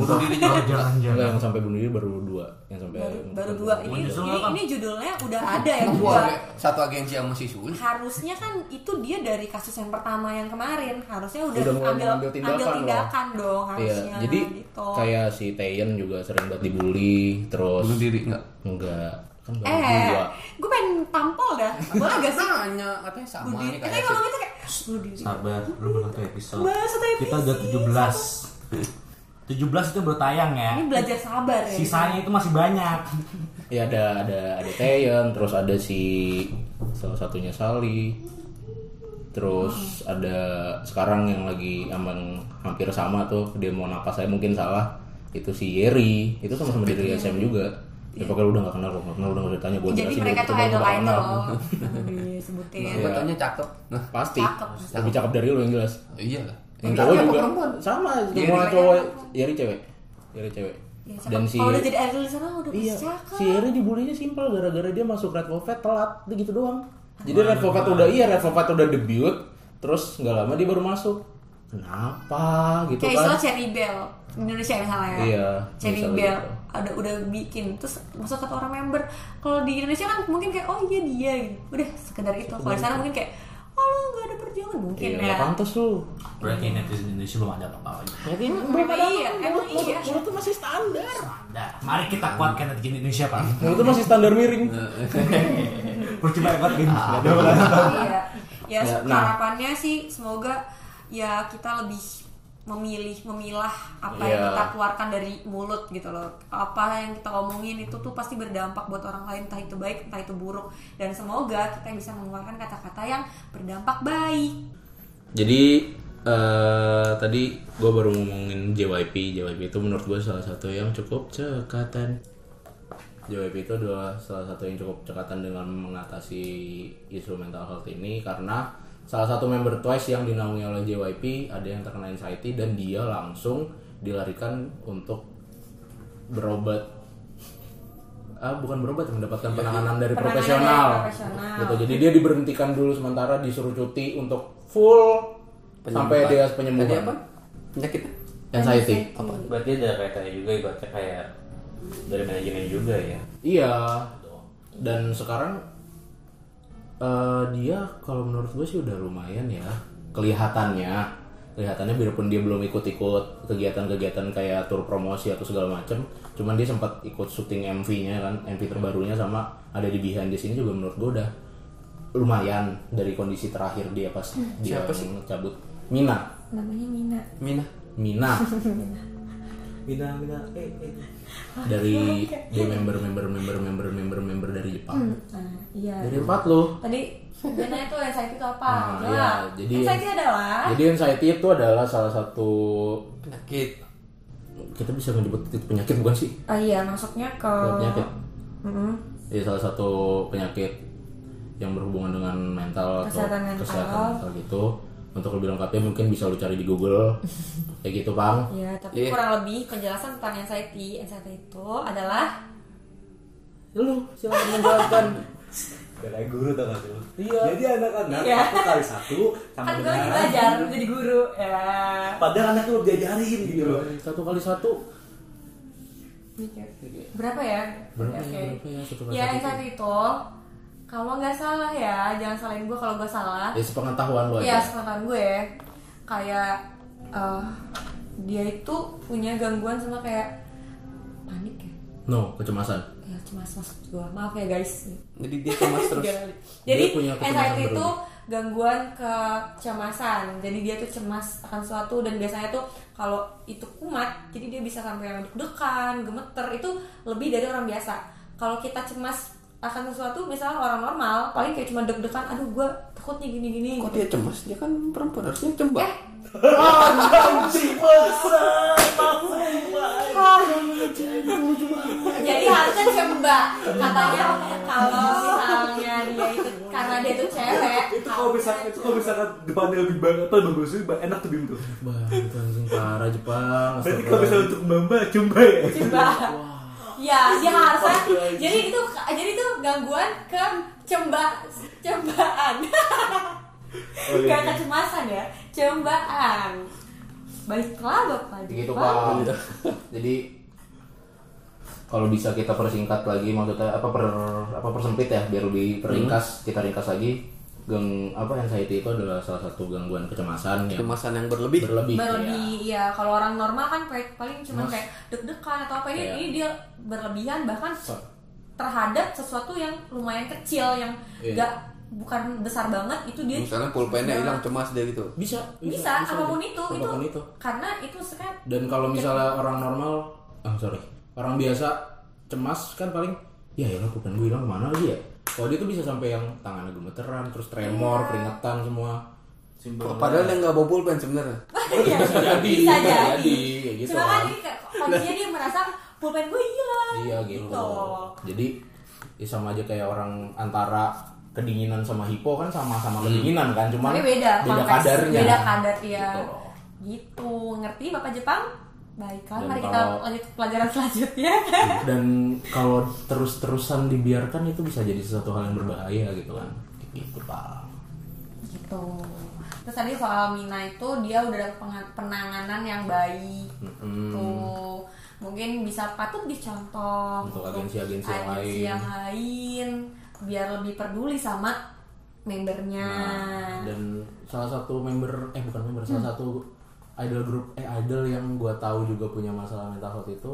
Bunuh diri juga jangan-jangan.
Enggak, yang sampai bunuh diri baru dua, yang sampai
baru, baru dua ini,
Justru
ini
apa?
ini judulnya udah ada ya
Emang gua
dua
ada satu agensi sama si Sul
harusnya kan itu dia dari kasus yang pertama yang kemarin harusnya udah,
Udah mulai
ambil
mengambil tindakan
ambil
loh.
tindakan dong
Iya,
harusnya
jadi
gitu.
kayak si Taeyeon juga sering banget dibully, terus
bunuh diri nggak
enggak kan baru
eh
dua.
gue pengen tampol dah boleh gak sih
nanya katanya sama
Budi
nih
kita
kayak
ngomong itu kayak "Bunuh diri."
Sabar, lu belum satu episode.
Baru satu
Kita udah 17. 17 itu baru tayang ya.
ini belajar sabar ya
Sisanya itu masih banyak.
Ya ada ada ada Taeyeon, terus ada si salah satunya Sally. Terus ada sekarang yang lagi aman hampir sama tuh, dia mau napas saya mungkin salah. Itu si Yeri, itu sama-sama dari SM juga. Ya pokoknya lu udah gak kenal kok, nggak kenal udah gak ditanya gue
Iya. jadi mereka tuh idol idol disebutin
gua
Iya.
tanya cakep nah
Pasti,
Cakep. Iya,
lebih cakep dari lu yang jelas
iya lah
Yang cowok
Tapi apa
juga
perempuan?
sama,
Iya,
Yeri.
semua cowok Yeri cewek Yeri cewek
Ya, cakep.
Dan si
kalau udah jadi idol di sana udah
Iya,
pasti cakep
si Eri dibulinya simpel gara-gara dia masuk Red Velvet telat, dia gitu doang. Jadi Red Velvet udah iya, Red Velvet udah debut, terus nggak lama dia baru masuk. Kenapa gitu
kayak
kan?
istilah Cherry Bell Indonesia misalnya ya
Iya,
Cherry
misalnya
Bell
gitu.
ada udah bikin terus masuk satu orang member kalau di Indonesia kan mungkin kayak oh iya dia gitu udah sekedar itu kalau di sana mungkin kayak oh lu gak ada perjuangan mungkin
Iya,
ya
nggak pantas lu.
Berarti netizen Indonesia belum ada apa-apa.
Berarti
Emang iya, emang iya.
Lu tuh masih standar.
Nah, mari kita kuatkan netizen Indonesia, Pak.
Lu tuh masih standar miring.
Percuma kuat bin.
Ah.
Iya. Ya,
Ya,
se-
nah.
harapannya sih semoga ya kita lebih memilih memilah apa yang
Iya.
kita keluarkan dari mulut gitu loh. Apa yang kita omongin itu tuh pasti berdampak buat orang lain, entah itu baik, entah itu buruk. Dan semoga kita bisa mengeluarkan kata-kata yang berdampak baik.
Jadi eh, tadi gue baru ngomongin JYP. JYP itu menurut gue salah satu yang cukup cekatan. JYP itu adalah salah satu yang cukup cekatan dengan mengatasi isu mental health ini karena salah satu member Twice yang dinaungi oleh JYP ada yang terkena anxiety dan dia langsung dilarikan untuk berobat ah bukan berobat mendapatkan penanganan dari
Penanganan
profesional.
dari profesional.
Gitu. Jadi dia diberhentikan dulu sementara disuruh cuti untuk full sampai dia penyembuhan.
Tadi apa penyakit
Anxiety.
Berarti ada kaitannya juga ibaratnya kayak dari manajemen juga ya.
Iya. Dan sekarang eh, dia kalau menurut gue sih udah lumayan ya kelihatannya. Kelihatannya biarpun dia belum ikut-ikut kegiatan-kegiatan kayak tur promosi atau segala macem Cuman dia sempat ikut syuting MV-nya kan, MV terbarunya sama ada di Behind di sini juga menurut gue udah lumayan dari kondisi terakhir dia pas dia
Siapa sih?
cabut Mina.
Namanya Mina.
Mina
Mina
Bina, bina, eh, eh.
Ah, iya,
dari dia member member member member member member dari Jepang.
Nah, iya.
Dari empat lo.
Tadi Mina itu anxiety itu apa?
Nah,
Jelas.
iya, jadi-
anxiety adalah
Jadi anxiety itu adalah salah satu
penyakit
kita bisa menyebut itu penyakit bukan sih?
Oh iya, masuknya ke
Bukan Penyakit.
Mm-mm.
Ya salah satu penyakit yang berhubungan dengan mental atau
Kesehatan mental.
kesehatan mental gitu.
Untuk lebih lengkapnya mungkin bisa lu cari di Google. Kayak gitu, Bang.
Ya, tapi kurang lebih penjelasan tentang anxiety. Anxiety itu adalah
Lu silakan menjelaskan.
Dari guru tau gak sih lu?
Iya.
Jadi anak-anak
Iya.
satu kali satu sama
kan gue lagi
dengan
belajar jadi guru ya.
Padahal anak lu diajarin gitu loh
satu kali satu.
Mikir. Berapa ya?
Berapa
Oke.
ya? Berapa ya? Satu kali
Ya
satu.
anxiety itu kalau nggak salah ya, jangan salahin gue kalau gue salah.
Ya sepengetahuan lu
Iya,
aja.
sepengetahuan gue kayak eh, dia itu punya gangguan sama kayak panik ya.
No, kecemasan.
Ya cemas maksud gue. Maaf ya guys.
Jadi dia cemas terus.
Tiga kali. Jadi
Dia punya kecemasan
anxiety itu
berlebih.
gangguan kecemasan. Jadi dia tuh cemas akan sesuatu dan biasanya tuh kalau itu kumat, jadi dia bisa sampai yang deg-degan, gemeter itu lebih dari orang biasa. Kalau kita cemas akan sesuatu, misalnya orang normal, paling kayak cuma deg-degan, aduh gue takutnya gini-gini.
Kok dia cemas? Dia kan perempuan harusnya cembah.
Jadi harusnya coba katanya kalau misalnya dia itu karena dia itu cewek.
itu kalau misalkan itu kalau misalkan depannya lebih banget apa bagus lebih ba- enak tuh bim tuh
Bang, langsung parah Jepang.
berarti kalau misalnya untuk mbak mbak coba ya
coba ya dia harusnya jadi itu jadi itu gangguan ke cemba cembaan
Oh, iya.
gak kecemasan ya cembaan baiklah bapak
gitu
Bapak.
pak jadi kalau bisa kita persingkat lagi maksudnya apa per apa persempit ya biar lebih peringkas kita ringkas lagi geng apa anxiety itu adalah salah satu gangguan kecemasan yang
Kecemasan yang berlebih.
berlebih ya.
berlebih ya kalau orang normal kan pa- paling cuma kayak deg-degan atau apa ini
Iya.
ini dia berlebihan bahkan terhadap sesuatu yang lumayan kecil yang
Iya.
gak bukan besar banget itu dia
Misalnya pulpennya hilang cemas dia gitu.
bisa
bisa, apapun
aja.
itu gitu.
apapun
itu,
itu.
karena itu sekarang
dan kalau misalnya orang normal ah sorry orang biasa cemas kan paling ya ya aku kan gue hilang kemana lagi ya kalau dia tuh bisa sampai yang tangannya gemeteran terus
Iya.
tremor keringetan semua
Padahal dia nggak bawa pulpen sebenarnya.
Iya, bisa
Oh, jadi,
bisa
bisa
jadi.
jadi, kayak gitu
Cuma kan
kan.
ini kayak kondisinya dia merasa pulpen gue hilang.
Iya gitu. Jadi ya sama aja kayak orang antara kedinginan sama hipo kan sama-sama kedinginan kan, cuman
Tapi beda,
beda
konteks,
kadarnya.
Beda kadar ya.
Gitu
Gitu.
loh.
Ngerti Bapak Jepang? Baiklah,
Dan
mari kita
kalau-
lanjut ke pelajaran selanjutnya.
Dan kalau terus-terusan dibiarkan itu bisa jadi sesuatu hal yang berbahaya gitu kan. Gitu pak.
gitu. Terus tadi soal Mina itu dia udah ada penga- penanganan yang baik. Tuh. Mungkin bisa patut dicontoh
Untuk agensi-agensi
agensi
yang lain.
yang lain, biar lebih peduli sama membernya.
Nah, dan salah satu member eh bukan member salah satu idol grup eh idol yang gua tahu juga punya masalah mental health itu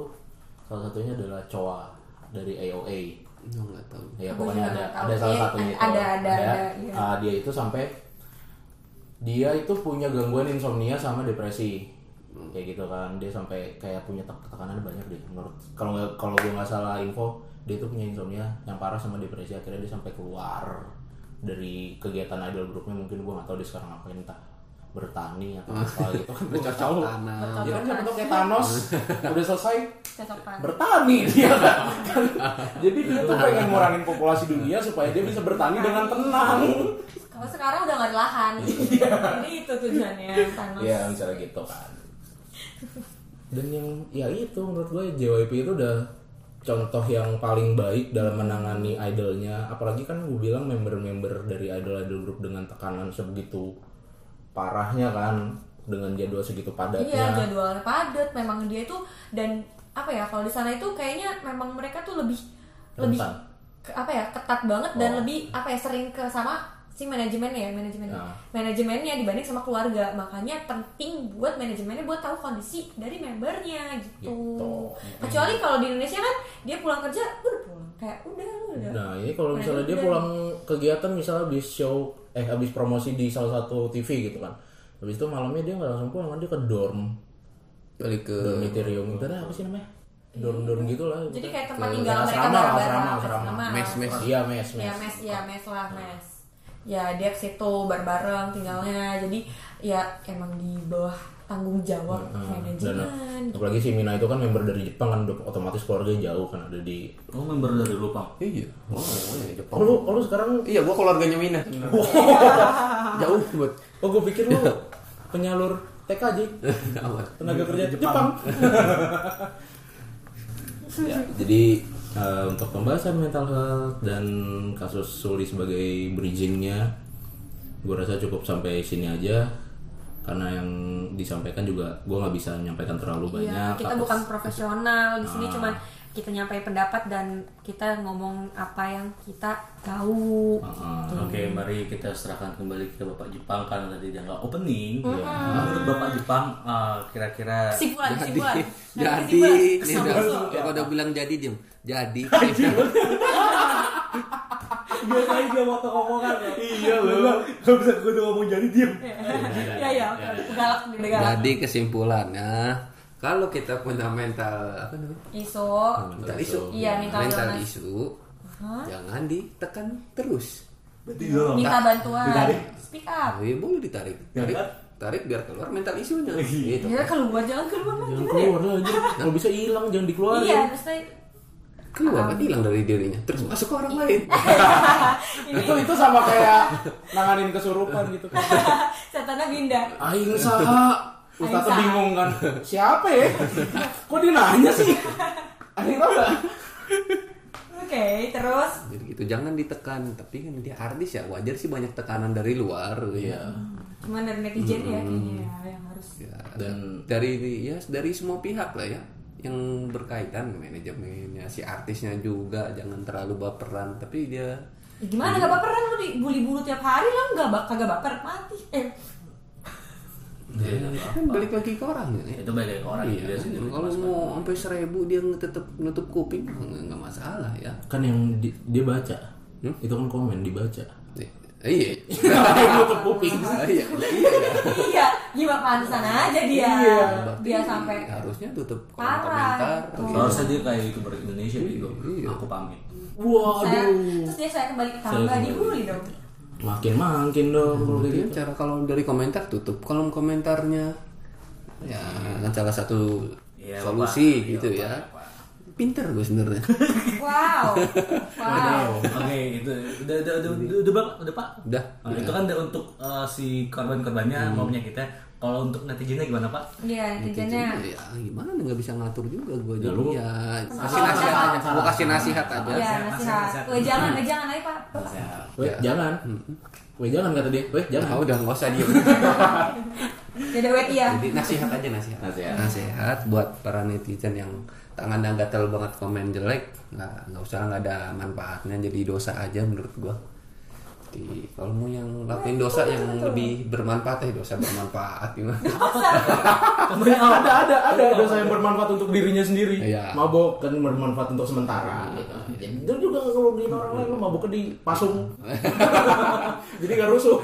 salah satunya adalah Coa dari AOA.
Nggak nggak tahu.
Ya
Aku
pokoknya
juga
ada
nggak tahu.
ada salah
Iya,
satunya itu.
ada- ada- ada, iya.
Ah, dia itu sampai dia itu punya gangguan insomnia sama depresi. Kayak gitu kan. Dia sampai kayak punya tek- tekanan banyak deh menurut kalau nggak kalau gue nggak salah info, dia itu punya insomnia yang parah sama depresi akhirnya dia sampai keluar dari kegiatan idol grupnya mungkin gue nggak tahu dia sekarang ngapain entah bertani atau apa gitu kan gue nggak tahu
Tanah.
dia kan siapa tau kayak Thanos udah selesai
Cocokan.
bertani dia kan. Jadi dia tuh pengen ngurangin populasi dunia supaya dia bisa bertani dengan tenang.
Kalau sekarang udah nggak ada lahan. Jadi itu tujuannya Thanos.
Iya, misalnya gitu kan. Dan yang ya itu menurut gue JYP itu udah contoh yang paling baik dalam menangani idolnya apalagi kan gue bilang member-member dari idol-idol grup dengan tekanan sebegitu parahnya kan dengan jadwal segitu padatnya
Iya, jadwalnya padat. Memang dia itu dan apa ya? Kalau di sana itu kayaknya memang mereka tuh lebih lebih
Rentan.
ke- apa ya? ketat banget dan
Oh.
lebih apa ya? sering ke sama si manajemennya ya, manajemennya.
Nah.
Manajemennya dibanding sama keluarga. Makanya penting buat manajemennya buat tahu kondisi dari membernya gitu.
Gitu.
Kecuali kalau di Indonesia kan dia pulang kerja udah pulang kayak udah lu udah.
Nah ini kalau
Nah,
misalnya
itu
dia
udah.
pulang kegiatan misalnya habis show eh habis promosi di salah satu TV gitu kan. Habis itu malamnya dia nggak langsung pulang kan dia ke dorm,
Balik ke
dormitorium gitu dah apa sih namanya? Dorm-dorm gitu lah.
Iya. Jadi kayak tempat
Ke-
tinggal mereka
asrama,
bareng-bareng,
asrama, asrama.
asrama.
mes mes.
Iya, mes, mes.
Ya mes, ya mes lah mes. Ya dia ke situ bareng-bareng tinggalnya. Jadi ya emang di bawah tanggung jawab
Hmm,
manajemen
dan apalagi si Mina itu kan member dari Jepang kan udah otomatis keluarganya jauh kan ada di
Oh member dari Lupang.
Iya.
Oh, iya, Jepang.
oh, lu, oh, lu sekarang
Iya, gua keluarganya Mina. Jauh buat
oh gue pikir lu penyalur TKJ
Apa?
tenaga kerja Jepang, ya, jadi eh, untuk pembahasan mental health dan kasus Suli sebagai bridgingnya gue rasa cukup sampai sini aja karena yang disampaikan juga gue nggak bisa menyampaikan terlalu banyak
Iya, kita
atas-
bukan profesional di sini cuman kita nyampai pendapat dan kita ngomong apa yang kita tahu.
Hmm.
Ah,
Oke, mari kita serahkan kembali ke Bapak Jepang karena tadi dia nggak opening. Nah, Menurut Bapak Jepang, eh, kira-kira
Kesimpulan,
jadi.
kesimpulan.
Jadi, ini udah kalau udah bilang jadi diem. Jadi.
biasanya dia mau omongan ya. Iya loh. Gak bisa gue udah ngomong jadi diem.
Ya ya, galak nih, udah galak.
Jadi kesimpulannya kalau kita punya mental apa namanya?
Iso.
Mental isu.
Iya, mental illness.
isu. Jangan ditekan terus.
Berarti gue nggak
Minta bantuan. Speak up.
Oh, iya, boleh ditarik. Tarik, tarik biar keluar mental isunya. Gitu.
Ya keluar jangan keluar
jangan
lagi.
keluar lah anjir. kalau bisa hilang jangan dikeluarin
Iya, maksudnya Ah.
Keluar kan hilang dari dirinya. Terus
Iya.
masuk ke orang lain.
itu itu sama kayak nanganin kesurupan gitu
setannya pindah.
aing saha Ustaznya
saha.
bingung kan siapa ya kok dia nanya sih aing apa
Oke, terus
Jadi gitu jangan ditekan. Tapi kan dia artis ya wajar sih banyak tekanan dari luar. Iya.
cuman dari netizen ya kayaknya ya, yang harus
Dan dari ya dari semua pihak lah ya yang berkaitan manajemennya si artisnya juga jangan terlalu baperan tapi dia
Ya gimana gak baperan lu dibully bulu tiap hari lah nggak bak kagak baper mati eh
kan balik lagi ke orangnya ya.
Iya. Itu balik lagi ke orang
Iya,
juga sih.
kan? kalau mau sampai seribu dia tetap nutup kuping nggak- nggak masalah ya.
kan yang di- dia baca itu kan komen dibaca
Iya.
nutup kuping
Iya. iya.
iya gimana pantesan aja dia dia sampai
harusnya tutup
Parah.
komentar.
Harusnya dia kayak youtuber Indonesia gitu. Aku pamit.
saya
waduh
terus dia saya kembali ke tangga dibully dong
makin makin dong kalau kayak
Jadi
gitu
cara kalau dari komentar tutup kolom komentarnya. Ya, kan salah satu
Iya,
solusi gitu ya. Pinter gue sebenarnya.
wow wow
Oke, itu udah udah udah udah udah, Bang. udah Pak.
Udah.
Nah, itu kan udah untuk eh, si
Hmm.
korban-korbannya maunya kita. Kalau untuk netizennya gimana Pak?
iya netizennya
Ya gimana nggak bisa ngatur juga gue
Ya,
jadi
lu-
ya. Kasih nasihat aja. Gue kasih nasihat aja.
iya
Nasihat, nasihat.
nasihat weh jangan weh jangan ayo pak Bapak.
weh jangan weh jangan kata dia weh
Ah,
jangan
udah nggak usah diem.
dada weh iya
Jadi nasihat aja nasihat.
Nasihat.
Nasihat buat para netizen yang tangan dan gatel banget komen jelek, nggak nggak usah nggak ada manfaatnya jadi dosa aja menurut gua. Jadi kalau mau yang lakuin dosa yang lebih bermanfaat eh dosa bermanfaat gimana?
ada ada ada dosa yang bermanfaat untuk dirinya sendiri
Iya.
mabok kan bermanfaat untuk sementara itu juga kalau di orang lain lo maboknya di pasung jadi nggak rusuh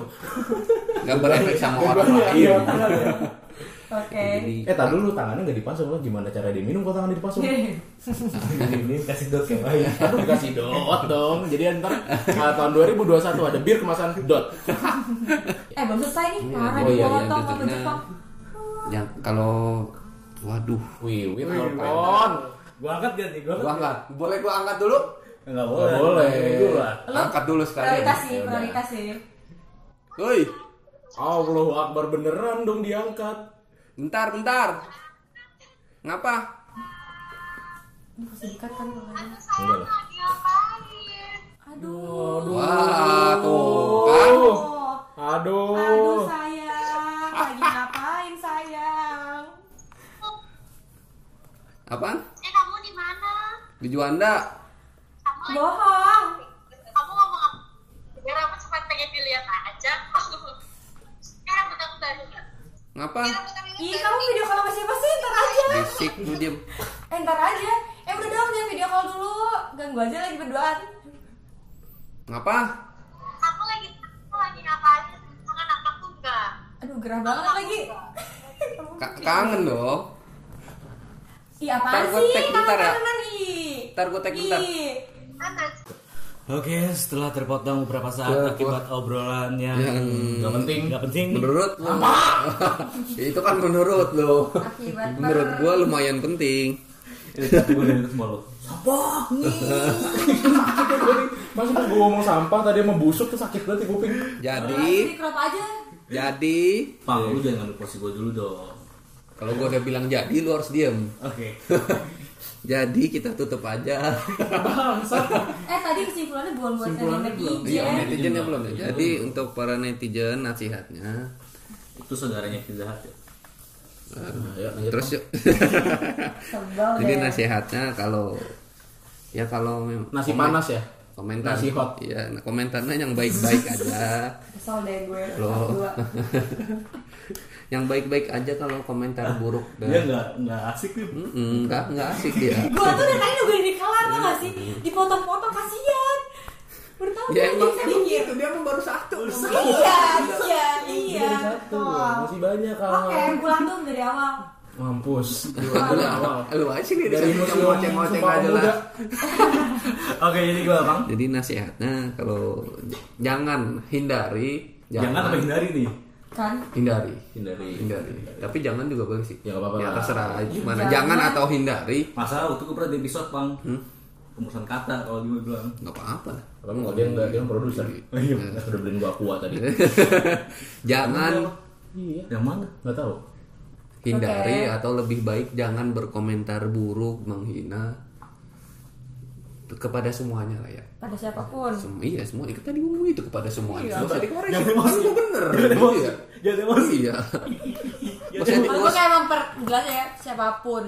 Nggak berefek sama orang lain.
Iya.
oke
Jadi
eh tak dulu tangannya nggak dipasung lo gimana cara dia minum kalau tangannya dipasung
Ini kasih dot ya Pak.
aduh dikasih dot dong jadi ntar ah, tahun 2021 ada bir kemasan dot
eh belum selesai nih parah
oh iya, iya,
dipotong
gitu.
sama
Nah.
Jepang
yang kalau waduh,
wiwit nelpon
Gua angkat gak nih? Gua
gua angkat. Boleh gua angkat dulu?
Enggak boleh.
Nggak boleh.
Gua.
Lo
Angkat dulu sekalian.
prioritas sih
Ya udah.
prioritas sih
Woi,
Allahu Akbar beneran dong diangkat
bentar bentar. Ngapa?
Aduh, singkat kan makanya.
enggak lah
aduh
Wah, tuh kan.
Oh.
aduh
Aduh sayang, lagi ngapain sayang?
Apaan?
Eh kamu di mana?
Di Juanda.
Kamu lagi-
Bohong.
kamu ngomong apa? Ya rambut cuma pengen dilihat aja. Ya rambut aku baru.
Ngapa?
Ya rambut aku
Ih, Iya, kamu video call sama siapa sih? Ntar aja.
Bisik lu diem.
Eh, ntar aja. Eh, udah dong, jangan video call dulu. Ganggu aja lagi berduaan.
Ngapa?
Kamu lagi kamu lagi ngapain? Tangan aku enggak.
Aduh, gerah banget lagi.
Ka- kangen dong.
Ih, apaan
Ntar gua
sih?
tag
Kangen
bentar ya.
kangenan, ih.
Ntar gua tag bentar.
Ih.
Kan tadi-
Oke, setelah terpotong beberapa saat akibat obrolan yang
Gak penting.
Hmm, nggak penting,
menurut lu itu kan menurut lu
Akibat
menurut gua lumayan penting
tapi gue dari semua lo.
Mas pas gue ngomong sampah tadi sama busuk tuh sakit banget di kuping.
jadi
Jadi crop aja.
jadi
Pang, lu jangan ngambil posisi gue dulu dong.
kalau gua udah bilang jadi lu harus diem
Oke.
jadi kita tutup aja
Eh tadi kesimpulannya bukan buat netizen.
Iya, netizen yang belum. Jadi untuk para netizen nasihatnya
Itu saudaranya Pizza Hut ya. Iya,
terus yuk.
Sebel
Jadi nasihatnya kalau ya kalau mem-
Nasi
komen-
panas ya.
komentar
nasi hot.
Iya, nah, komentarnya yang baik-baik aja.
Kesel deh gue.
Loh. yang baik-baik aja kalau komentar buruk
Iya
dan
Dia Iya, nggak nggak asik nih.
Hmm.
Mm-mm, nggak nggak asik ya. dia.
Gue tuh dari tadi nungguin di kelar tau gak sih? Dipotong-potong kasihan. Bertahun
Ya emang
saya minggir.
dia emang baru satu.
Iya, iya, iya. Tolong.
Masih banyak kan.
Oke, pulang tuh dari awal.
Mampus.
Lu aja nih
Dari
disebut
museum
ngoceng-ngoceng
Sumpah
aja lah.
Pemuda.
Oke, jadi gue Bang.
Jadi nasihatnya kalau j- jangan hindari,
Jangan apa hindari nih.
Kan?
hindari.
Hindari.
hindari. Tapi jangan juga boleh sih.
Ya, nggak apa-apa
Ya
lah.
terserah aja gimana.
Jangan.
Jangan atau hindari Hmm?
Masalah waktu gue pernah di episode Bang. Pengurusan kata kalau gue bilang.
nggak apa-apa. lah.
Tapi nggak dia nggak dia yang kan produser.
Iya.
Udah beliin gua kuat tadi.
Jangan
Iya.
Yang mana?
Nggak tahu.
hindari
Oke.
atau lebih baik jangan berkomentar buruk, menghina kepada semuanya lah ya.
Pada siapapun.
Sem- iya semua ikut tadi ngomong itu kepada
Iya,
semuanya. Gua tadi koreksi.
Jangan emosi.
Gua bener. Iya.
Jangan emosi.
Iya. Gak usah di-
Kalau gue kayak memper jelas ya siapapun.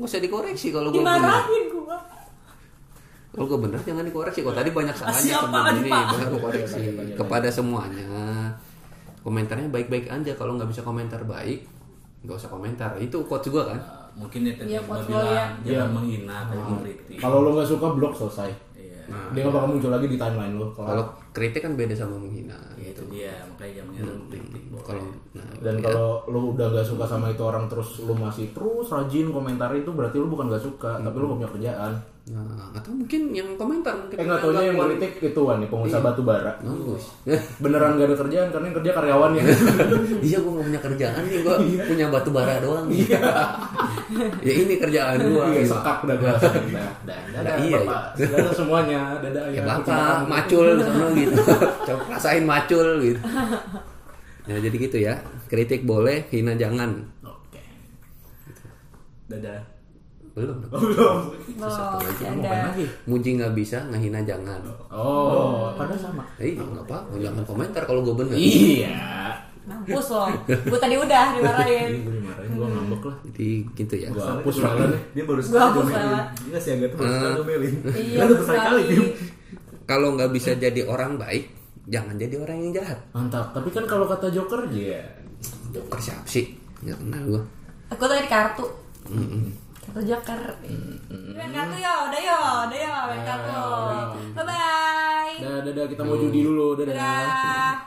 gak usah dikoreksi kalau gue bener.
Dimarahin gue.
Kalau gue bener jangan dikoreksi. Kalau tadi banyak salahnya
Siapa
sebelum
nih,
ini,
Pak?
baru gue koreksi. Kepada semuanya, komentarnya baik-baik aja. Kalau nggak bisa komentar baik, nggak usah komentar. Itu quotes gue kan.
Nah, Mungkin ya tadi
Iya,
gue
quotes lo ya.
bilang jangan menghina, tapi mengkritik.
Kalau lo nggak suka blok selesai.
Iya.
Dia nggak bakal muncul lagi di timeline lo.
Kalau kritik kan beda sama menghina. gitu. Hmm,
Ya itu dia, makanya jangan menghina, mengkritik.
Kalau nah,
Dan kalau lu udah gak suka sama itu orang terus lu masih terus rajin komentar itu berarti lu bukan gak suka, tapi lu gak punya kerjaan.
nah, atau mungkin yang komentar mungkin
Eh nggak taunya yang kritik ituan nih pengusaha batu bara.
bagus.
Beneran gak ada kerjaan karena yang kerja ya. karyawannya.
Iya gue gak punya kerjaan nih gue punya batu bara doang. ya ini kerjaan gitu. gue.
Iya, sekak dagang. Nah,
Nah,
Dadah,
iya,
Bapak. Dadah semuanya. Dadah
ya
ya.
bapak macul di sana gitu coba rasain macul gitu ya jadi gitu ya kritik boleh hina jangan
Oke. Dadah.
belum
Loh,
Ngapain
ada.
lagi?
muji nggak bisa ngehina jangan
Oh, padahal sama.
eh nggak apa jangan komentar kalau gue bener
Iya.
Mampus loh. Gue tadi udah dimarahin.
Ini gue dimarahin, gue ngambek lah.
jadi gitu ya
Gue hapus malah nih.
Dia baru
Gua
sekali
hapus
domelin.
lewat.
Gila sih agak tuh baru sekali domelin.
Iya,
Baru sekali.
sekali.
kalau nggak bisa jadi orang baik jangan jadi orang yang jahat
Mantap. Tapi kan kalau kata Joker iya. dia
joker siapa sih nggak kenal gue
Aku tadi kartu. Kartu joker. Main kartu yo, udah yo, udah yo, main kartu. Bye bye.
Iya. Dadah, dadah kita mau judi dulu. Dadah.
Dadah.